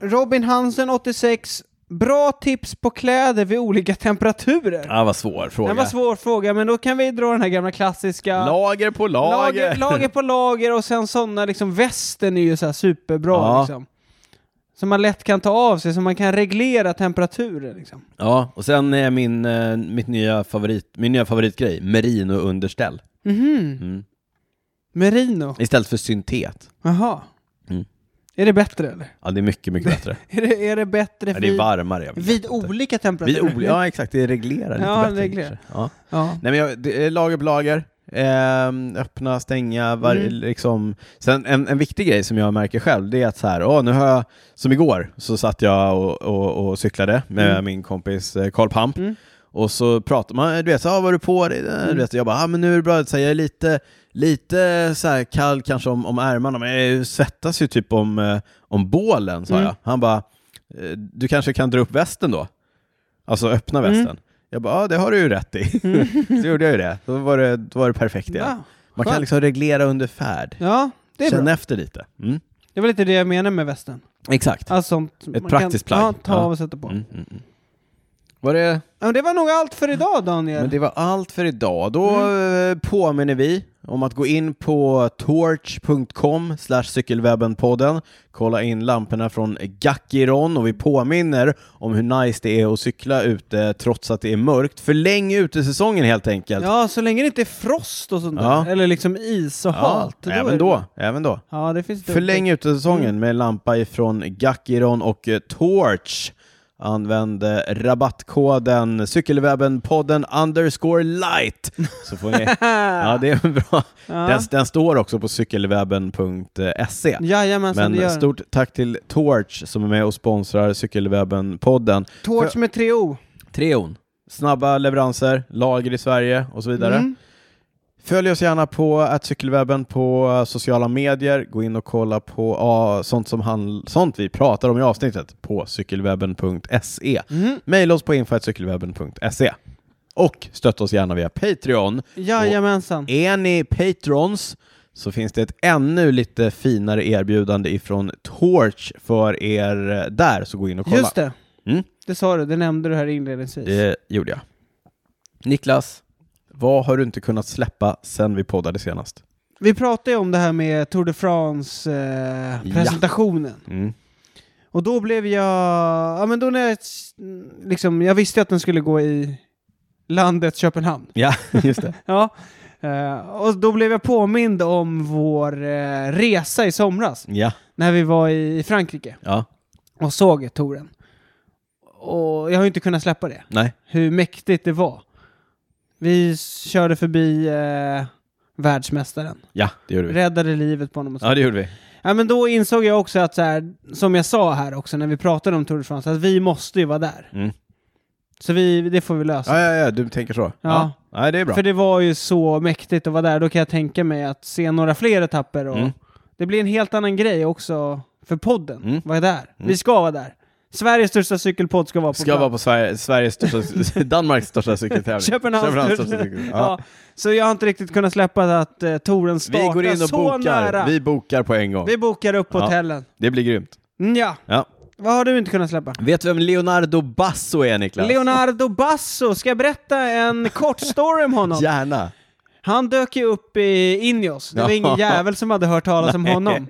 [SPEAKER 2] Robin Hansen, 86. Bra tips på kläder vid olika temperaturer.
[SPEAKER 1] Ja, vad svår fråga.
[SPEAKER 2] Det var en svår fråga, men då kan vi dra den här gamla klassiska...
[SPEAKER 1] Lager på lager.
[SPEAKER 2] lager, lager på lager och sen sådana liksom, västen är ju så här superbra
[SPEAKER 1] Ja.
[SPEAKER 2] liksom. Som man lätt kan ta av sig, som man kan reglera temperaturen liksom.
[SPEAKER 1] Ja, och sen är min, eh, mitt nya favorit, min nya favoritgrej, merino-underställ. Mm.
[SPEAKER 2] Merino.
[SPEAKER 1] Istället för syntet.
[SPEAKER 2] Jaha.
[SPEAKER 1] Mm.
[SPEAKER 2] Är det bättre eller?
[SPEAKER 1] Ja, det är mycket, mycket bättre.
[SPEAKER 2] Är det, är det bättre
[SPEAKER 1] Ja, det är
[SPEAKER 2] vid,
[SPEAKER 1] varmare. jag vet
[SPEAKER 2] vid
[SPEAKER 1] inte.
[SPEAKER 2] olika
[SPEAKER 1] Vi
[SPEAKER 2] temperaturer?
[SPEAKER 1] odlar, ja exakt, det reglerar lite
[SPEAKER 2] Ja,
[SPEAKER 1] bättre.
[SPEAKER 2] det reglerar.
[SPEAKER 1] kanske. Ja.
[SPEAKER 2] ja.
[SPEAKER 1] Nej men jag, det är lager på lager, Ehm, öppna, stänga, var,
[SPEAKER 2] Mm.
[SPEAKER 1] liksom. Sen en, en viktig grej som jag märker själv, det är att så här, åh, nu har jag, som igår, så satt jag och, och, och cyklade med
[SPEAKER 2] Mm.
[SPEAKER 1] min kompis eh, Carl Pamp,
[SPEAKER 2] Mm.
[SPEAKER 1] och så pratar man, du vet, så, ah, vad har du på dig? Eh, Du vet, jag bara, ah, men nu är det bra, så här, jag är lite, lite så här kall kanske om, om ärmarna, men jag svettas ju typ om, eh, om bålen, sa
[SPEAKER 2] Mm.
[SPEAKER 1] jag. Han bara, eh, du kanske kan dra upp västen då? Alltså öppna
[SPEAKER 2] Mm.
[SPEAKER 1] västen. Jag bara, ja det har du ju rätt i. så gjorde jag ju det. Då var det, då var det perfekt igen.
[SPEAKER 2] Ja,
[SPEAKER 1] Man kan
[SPEAKER 2] skönt.
[SPEAKER 1] liksom reglera under färd.
[SPEAKER 2] ja, det är
[SPEAKER 1] Känna
[SPEAKER 2] bra.
[SPEAKER 1] efter lite. Mm.
[SPEAKER 2] Det var lite det jag menade med västen.
[SPEAKER 1] Exakt.
[SPEAKER 2] Alltså, sånt man
[SPEAKER 1] praktiskt
[SPEAKER 2] kan,
[SPEAKER 1] plagg.
[SPEAKER 2] Ja, ta
[SPEAKER 1] Ja.
[SPEAKER 2] av och sätta på.
[SPEAKER 1] Mm, mm, mm. Var det?
[SPEAKER 2] Ja, det var nog allt för idag Daniel.
[SPEAKER 1] Men det var allt för idag. Då
[SPEAKER 2] Mm.
[SPEAKER 1] eh, påminner vi om att gå in på torch.com slash cykelwebbenpodden, kolla in lamporna från Gackiron och vi påminner om hur nice det är att cykla ute trots att det är mörkt. Förläng utesäsongen helt enkelt.
[SPEAKER 2] Ja, så länge det inte är frost och sånt
[SPEAKER 1] Ja.
[SPEAKER 2] där. Eller liksom is och halt. då är
[SPEAKER 1] även
[SPEAKER 2] det-
[SPEAKER 1] då. Även då.
[SPEAKER 2] Ja, det finns
[SPEAKER 1] Förläng
[SPEAKER 2] Mm.
[SPEAKER 1] utesäsongen med lampa ifrån Gackiron och eh, Torch. Använd eh, rabattkoden cykelwebbenpodden underscore light så får ni... ja, det är bra. Den, den står också på cykelwebben.se.
[SPEAKER 2] Jajamensan, det
[SPEAKER 1] Men
[SPEAKER 2] gör den.
[SPEAKER 1] stort tack till Torch som är med och sponsrar cykelwebben-podden.
[SPEAKER 2] Torch med tre O.
[SPEAKER 1] Treon. Snabba leveranser, lager i Sverige och så vidare.
[SPEAKER 2] Mm.
[SPEAKER 1] Följ oss gärna på att cykelwebben på sociala medier. Gå in och kolla på ah, sånt, som handl- sånt vi pratar om i avsnittet på cykelwebben.se.
[SPEAKER 2] Mm.
[SPEAKER 1] Maila oss på info.cykelwebben.se. Och stötta oss gärna via Patreon.
[SPEAKER 2] Jajamensan.
[SPEAKER 1] Är ni patrons så finns det ett ännu lite finare erbjudande ifrån Torch för er där, så gå in och kolla.
[SPEAKER 2] Just det.
[SPEAKER 1] Mm.
[SPEAKER 2] Det sa du, det nämnde du här inledningsvis.
[SPEAKER 1] Det gjorde jag. Niklas, vad har du inte kunnat släppa sen vi poddade senast?
[SPEAKER 2] Vi pratade ju om det här med Tour de France-presentationen.
[SPEAKER 1] Mm.
[SPEAKER 2] Och då blev jag... Ja, men då när jag... Liksom, jag visste att den skulle gå i landet Köpenhamn.
[SPEAKER 1] Ja, just det.
[SPEAKER 2] Ja. Eh, och då blev jag påmind om vår eh, resa i somras,
[SPEAKER 1] Ja,
[SPEAKER 2] när vi var i Frankrike
[SPEAKER 1] ja,
[SPEAKER 2] och såg touren. Och jag har ju inte kunnat släppa det,
[SPEAKER 1] nej.
[SPEAKER 2] hur mäktigt det var. Vi s- körde förbi eh, världsmästaren,
[SPEAKER 1] Ja, det gjorde vi.
[SPEAKER 2] räddade livet på honom och så.
[SPEAKER 1] Ja, det gjorde vi.
[SPEAKER 2] Ja, men då insåg jag också att, så här, som jag sa här också när vi pratade om Tour de France, att vi måste ju vara där.
[SPEAKER 1] Mm.
[SPEAKER 2] Så vi, det får vi lösa.
[SPEAKER 1] Ja, ja, ja, du tänker så.
[SPEAKER 2] Ja.
[SPEAKER 1] Nej, det är bra.
[SPEAKER 2] För det var ju så mäktigt att vara där. Då kan jag tänka mig att se några fler etapper. Och
[SPEAKER 1] Mm.
[SPEAKER 2] Det blir en helt annan grej också för podden.
[SPEAKER 1] Mm.
[SPEAKER 2] Vara där. Vi ska vara där. Sveriges största cykelpodd ska vara på
[SPEAKER 1] Ska
[SPEAKER 2] plats.
[SPEAKER 1] vara på Sverige, Sveriges största, Danmarks största cykeltävling.
[SPEAKER 2] Köpenhamns
[SPEAKER 1] största cykeltävling.
[SPEAKER 2] Ja.
[SPEAKER 1] Ja.
[SPEAKER 2] Så jag har inte riktigt kunnat släppa att eh, touren
[SPEAKER 1] Vi
[SPEAKER 2] startar
[SPEAKER 1] går in och
[SPEAKER 2] så nära.
[SPEAKER 1] bokar. Vi bokar på en gång.
[SPEAKER 2] Vi bokar upp på
[SPEAKER 1] Ja.
[SPEAKER 2] hotellen.
[SPEAKER 1] Det blir grymt.
[SPEAKER 2] Mm, Ja,
[SPEAKER 1] Ja.
[SPEAKER 2] vad har du inte kunnat släppa?
[SPEAKER 1] Vet du vem Leonardo Basso är, Niklas?
[SPEAKER 2] Leonardo Basso, ska jag berätta en kort story om honom?
[SPEAKER 1] Gärna.
[SPEAKER 2] Han dök ju upp i Ineos, det var
[SPEAKER 1] Ja.
[SPEAKER 2] ingen jävel som hade hört talas om
[SPEAKER 1] Nej.
[SPEAKER 2] honom.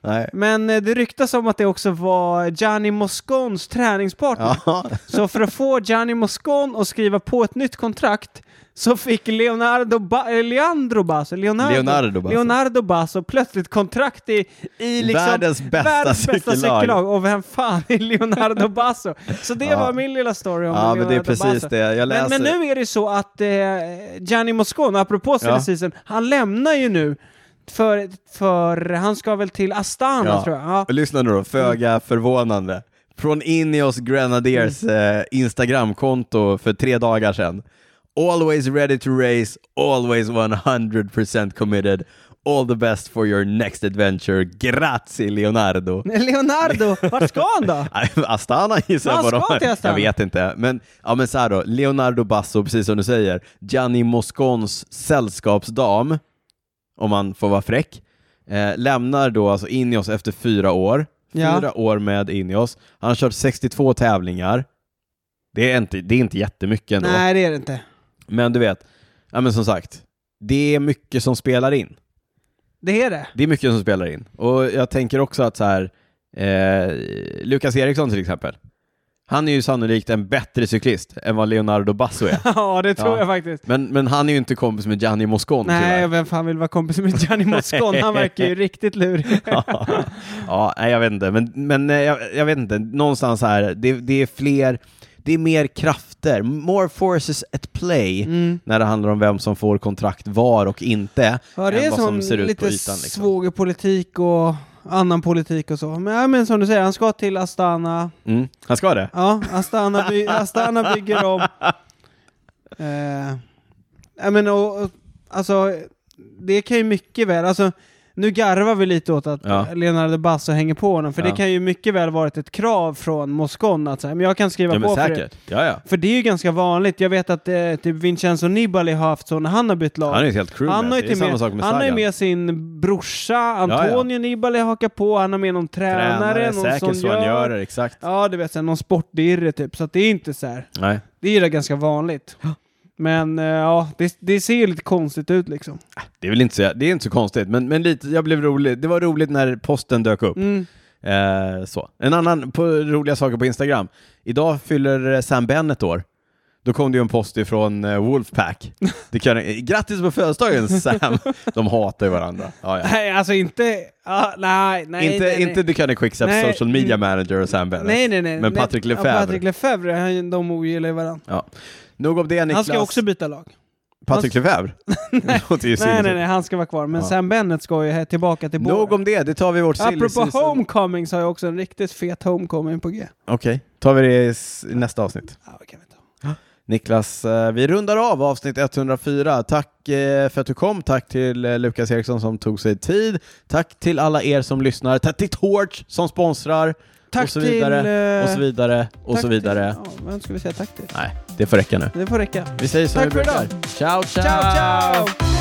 [SPEAKER 1] Nej.
[SPEAKER 2] Men eh, det ryktas om att det också var Gianni Moscons träningspartner.
[SPEAKER 1] Ja.
[SPEAKER 2] Så för att få Gianni Moscon att skriva på ett nytt kontrakt så fick Leonardo ba- eh, Leandro Basso, Leonardo,
[SPEAKER 1] Leonardo Basso.
[SPEAKER 2] Leonardo Basso plötsligt kontrakt i, i liksom
[SPEAKER 1] Världens bästa
[SPEAKER 2] världens bästa
[SPEAKER 1] cykellag.
[SPEAKER 2] cykellag. Och vem fan är Leonardo Basso? Så det
[SPEAKER 1] Ja.
[SPEAKER 2] var min lilla story om
[SPEAKER 1] ja,
[SPEAKER 2] Leonardo
[SPEAKER 1] men det är precis
[SPEAKER 2] Basso.
[SPEAKER 1] det. Jag läser.
[SPEAKER 2] Men, men nu är det så att eh, Gianni Moscon, apropå silly
[SPEAKER 1] Ja.
[SPEAKER 2] season, han lämnar ju nu för, för han ska väl till Astana
[SPEAKER 1] Ja.
[SPEAKER 2] tror jag. Ja. Mm.
[SPEAKER 1] Lyssna nu då, föga förvånande. Från Ineos Grenadiers
[SPEAKER 2] Mm.
[SPEAKER 1] eh, Instagramkonto för tre dagar sedan. Always ready to race, always 100% committed. All the best for your next adventure. Grazie Leonardo.
[SPEAKER 2] Leonardo, vart ska han då?
[SPEAKER 1] Astana gissar
[SPEAKER 2] Han
[SPEAKER 1] jag på
[SPEAKER 2] ska till
[SPEAKER 1] Jag
[SPEAKER 2] Astana.
[SPEAKER 1] vet inte. Men, ja, men så här då, Leonardo Basso, precis som du säger, Gianni Moscons sällskapsdam, om man får vara fräck, eh, lämnar då alltså Ineos efter fyra år.
[SPEAKER 2] Ja.
[SPEAKER 1] Fyra år med Ineos. Han har kört 62 tävlingar. Det är inte, det är inte jättemycket ändå.
[SPEAKER 2] Nej, det är det inte.
[SPEAKER 1] Men du vet, ja, men som sagt, det är mycket som spelar in.
[SPEAKER 2] Det är det.
[SPEAKER 1] Det är mycket som spelar in. Och jag tänker också att så här, eh, Lukas Eriksson till exempel, han är ju sannolikt en bättre cyklist än vad Leonardo Basso är.
[SPEAKER 2] Ja, det tror
[SPEAKER 1] Ja.
[SPEAKER 2] jag faktiskt.
[SPEAKER 1] Men, men han är ju inte kompis med Gianni Moscon
[SPEAKER 2] Nej,
[SPEAKER 1] tyvärr.
[SPEAKER 2] vem fan vill vara kompis med Gianni Moscon? Han verkar ju riktigt lurig.
[SPEAKER 1] ja, ja, nej, jag vet inte. Men, men eh, jag, jag vet inte, någonstans här, det, det är fler, det är mer krafter, more forces at play
[SPEAKER 2] Mm.
[SPEAKER 1] när det handlar om vem som får kontrakt var och inte,
[SPEAKER 2] Ja, det
[SPEAKER 1] än
[SPEAKER 2] är
[SPEAKER 1] vad
[SPEAKER 2] som
[SPEAKER 1] som ser ut på
[SPEAKER 2] lite
[SPEAKER 1] ytan. Liksom.
[SPEAKER 2] svågerpolitik och annan politik och så. Men, ja, men som du säger, han ska till Astana.
[SPEAKER 1] Mm. Han ska det?
[SPEAKER 2] Ja, Astana, by- Astana bygger om. Eh, ja, men, och, och, alltså, det kan ju mycket väl, alltså, nu garvar vi lite åt att
[SPEAKER 1] Ja.
[SPEAKER 2] Leonardo Basso hänger på honom, för det
[SPEAKER 1] Ja.
[SPEAKER 2] kan ju mycket väl varit ett krav från Moscon att så här, men jag kan skriva
[SPEAKER 1] Ja, men
[SPEAKER 2] på för det.
[SPEAKER 1] säkert. Ja, ja.
[SPEAKER 2] För det är ju ganska vanligt, jag vet att eh, typ Vincenzo Nibali har haft så när han har bytt lag.
[SPEAKER 1] Han är ju ett helt crew
[SPEAKER 2] Han
[SPEAKER 1] med.
[SPEAKER 2] har ju
[SPEAKER 1] Det är
[SPEAKER 2] till
[SPEAKER 1] samma
[SPEAKER 2] med,
[SPEAKER 1] sak med
[SPEAKER 2] han har ju
[SPEAKER 1] Sagan.
[SPEAKER 2] med sin brorsa,
[SPEAKER 1] ja.
[SPEAKER 2] Antonio Nibali hakar på, han har med någon tränare, någon
[SPEAKER 1] säkert så han gör det, exakt.
[SPEAKER 2] Ja, du vet, så här, någon sportdirre typ. Så att det är inte så här.
[SPEAKER 1] Nej.
[SPEAKER 2] Det är ju ganska vanligt. Men eh, ja, det, det ser ju lite konstigt ut liksom.
[SPEAKER 1] Det är väl inte så, det är inte så konstigt, men, men lite, jag blev rolig. Det var roligt när posten dök upp.
[SPEAKER 2] Mm.
[SPEAKER 1] Eh, så. En annan på, roliga saker på Instagram. Idag fyller eh, Sam Bennett år. Då kom det ju en post ifrån eh, Wolfpack. Det kan, eh, Grattis på födelsedagen Sam! De hatar ju varandra. Ja, ja.
[SPEAKER 2] Nej, alltså inte... Ja, nej, nej,
[SPEAKER 1] inte
[SPEAKER 2] nej,
[SPEAKER 1] inte
[SPEAKER 2] nej.
[SPEAKER 1] Ducani Quicksteps
[SPEAKER 2] Nej.
[SPEAKER 1] social media manager och Sam Bennett.
[SPEAKER 2] Nej, nej, nej.
[SPEAKER 1] men
[SPEAKER 2] nej.
[SPEAKER 1] Patrick
[SPEAKER 2] Ja,
[SPEAKER 1] Lefebvre.
[SPEAKER 2] Patrick Lefebvre, han, de ogillar ju varandra.
[SPEAKER 1] Ja. Nog om det Niklas.
[SPEAKER 2] Han ska också byta lag.
[SPEAKER 1] Patrik Lefebvre? Det låter ju
[SPEAKER 2] Nej,
[SPEAKER 1] sinnessjukt.
[SPEAKER 2] nej, nej, han ska vara kvar. Men
[SPEAKER 1] Ja.
[SPEAKER 2] Sam Bennett ska ju he- tillbaka till
[SPEAKER 1] Nog
[SPEAKER 2] båren.
[SPEAKER 1] om det, det tar vi i vårt silly
[SPEAKER 2] Apropå
[SPEAKER 1] season.
[SPEAKER 2] homecoming så har jag också en riktigt fet homecoming på G.
[SPEAKER 1] Okej, tar vi det i s- i nästa avsnitt.
[SPEAKER 2] Ja, det kan vi ta.
[SPEAKER 1] Niklas, eh, vi rundar av avsnitt 104. Tack eh, för att du kom. Tack till eh, Lukas Eriksson som tog sig tid. Tack till alla er som lyssnar. Tack till Torch som sponsrar.
[SPEAKER 2] Tack
[SPEAKER 1] och så
[SPEAKER 2] till,
[SPEAKER 1] vidare, och så
[SPEAKER 2] eh,
[SPEAKER 1] vidare, och
[SPEAKER 2] Tack
[SPEAKER 1] så vidare.
[SPEAKER 2] Till, ja, vem ska vi säga tack till?
[SPEAKER 1] Nej, det får räcka nu.
[SPEAKER 2] Det får räcka.
[SPEAKER 1] Vi säger som
[SPEAKER 2] Tack
[SPEAKER 1] vi
[SPEAKER 2] för
[SPEAKER 1] brukar.
[SPEAKER 2] idag.
[SPEAKER 1] Ciao, ciao!
[SPEAKER 2] Ciao, ciao!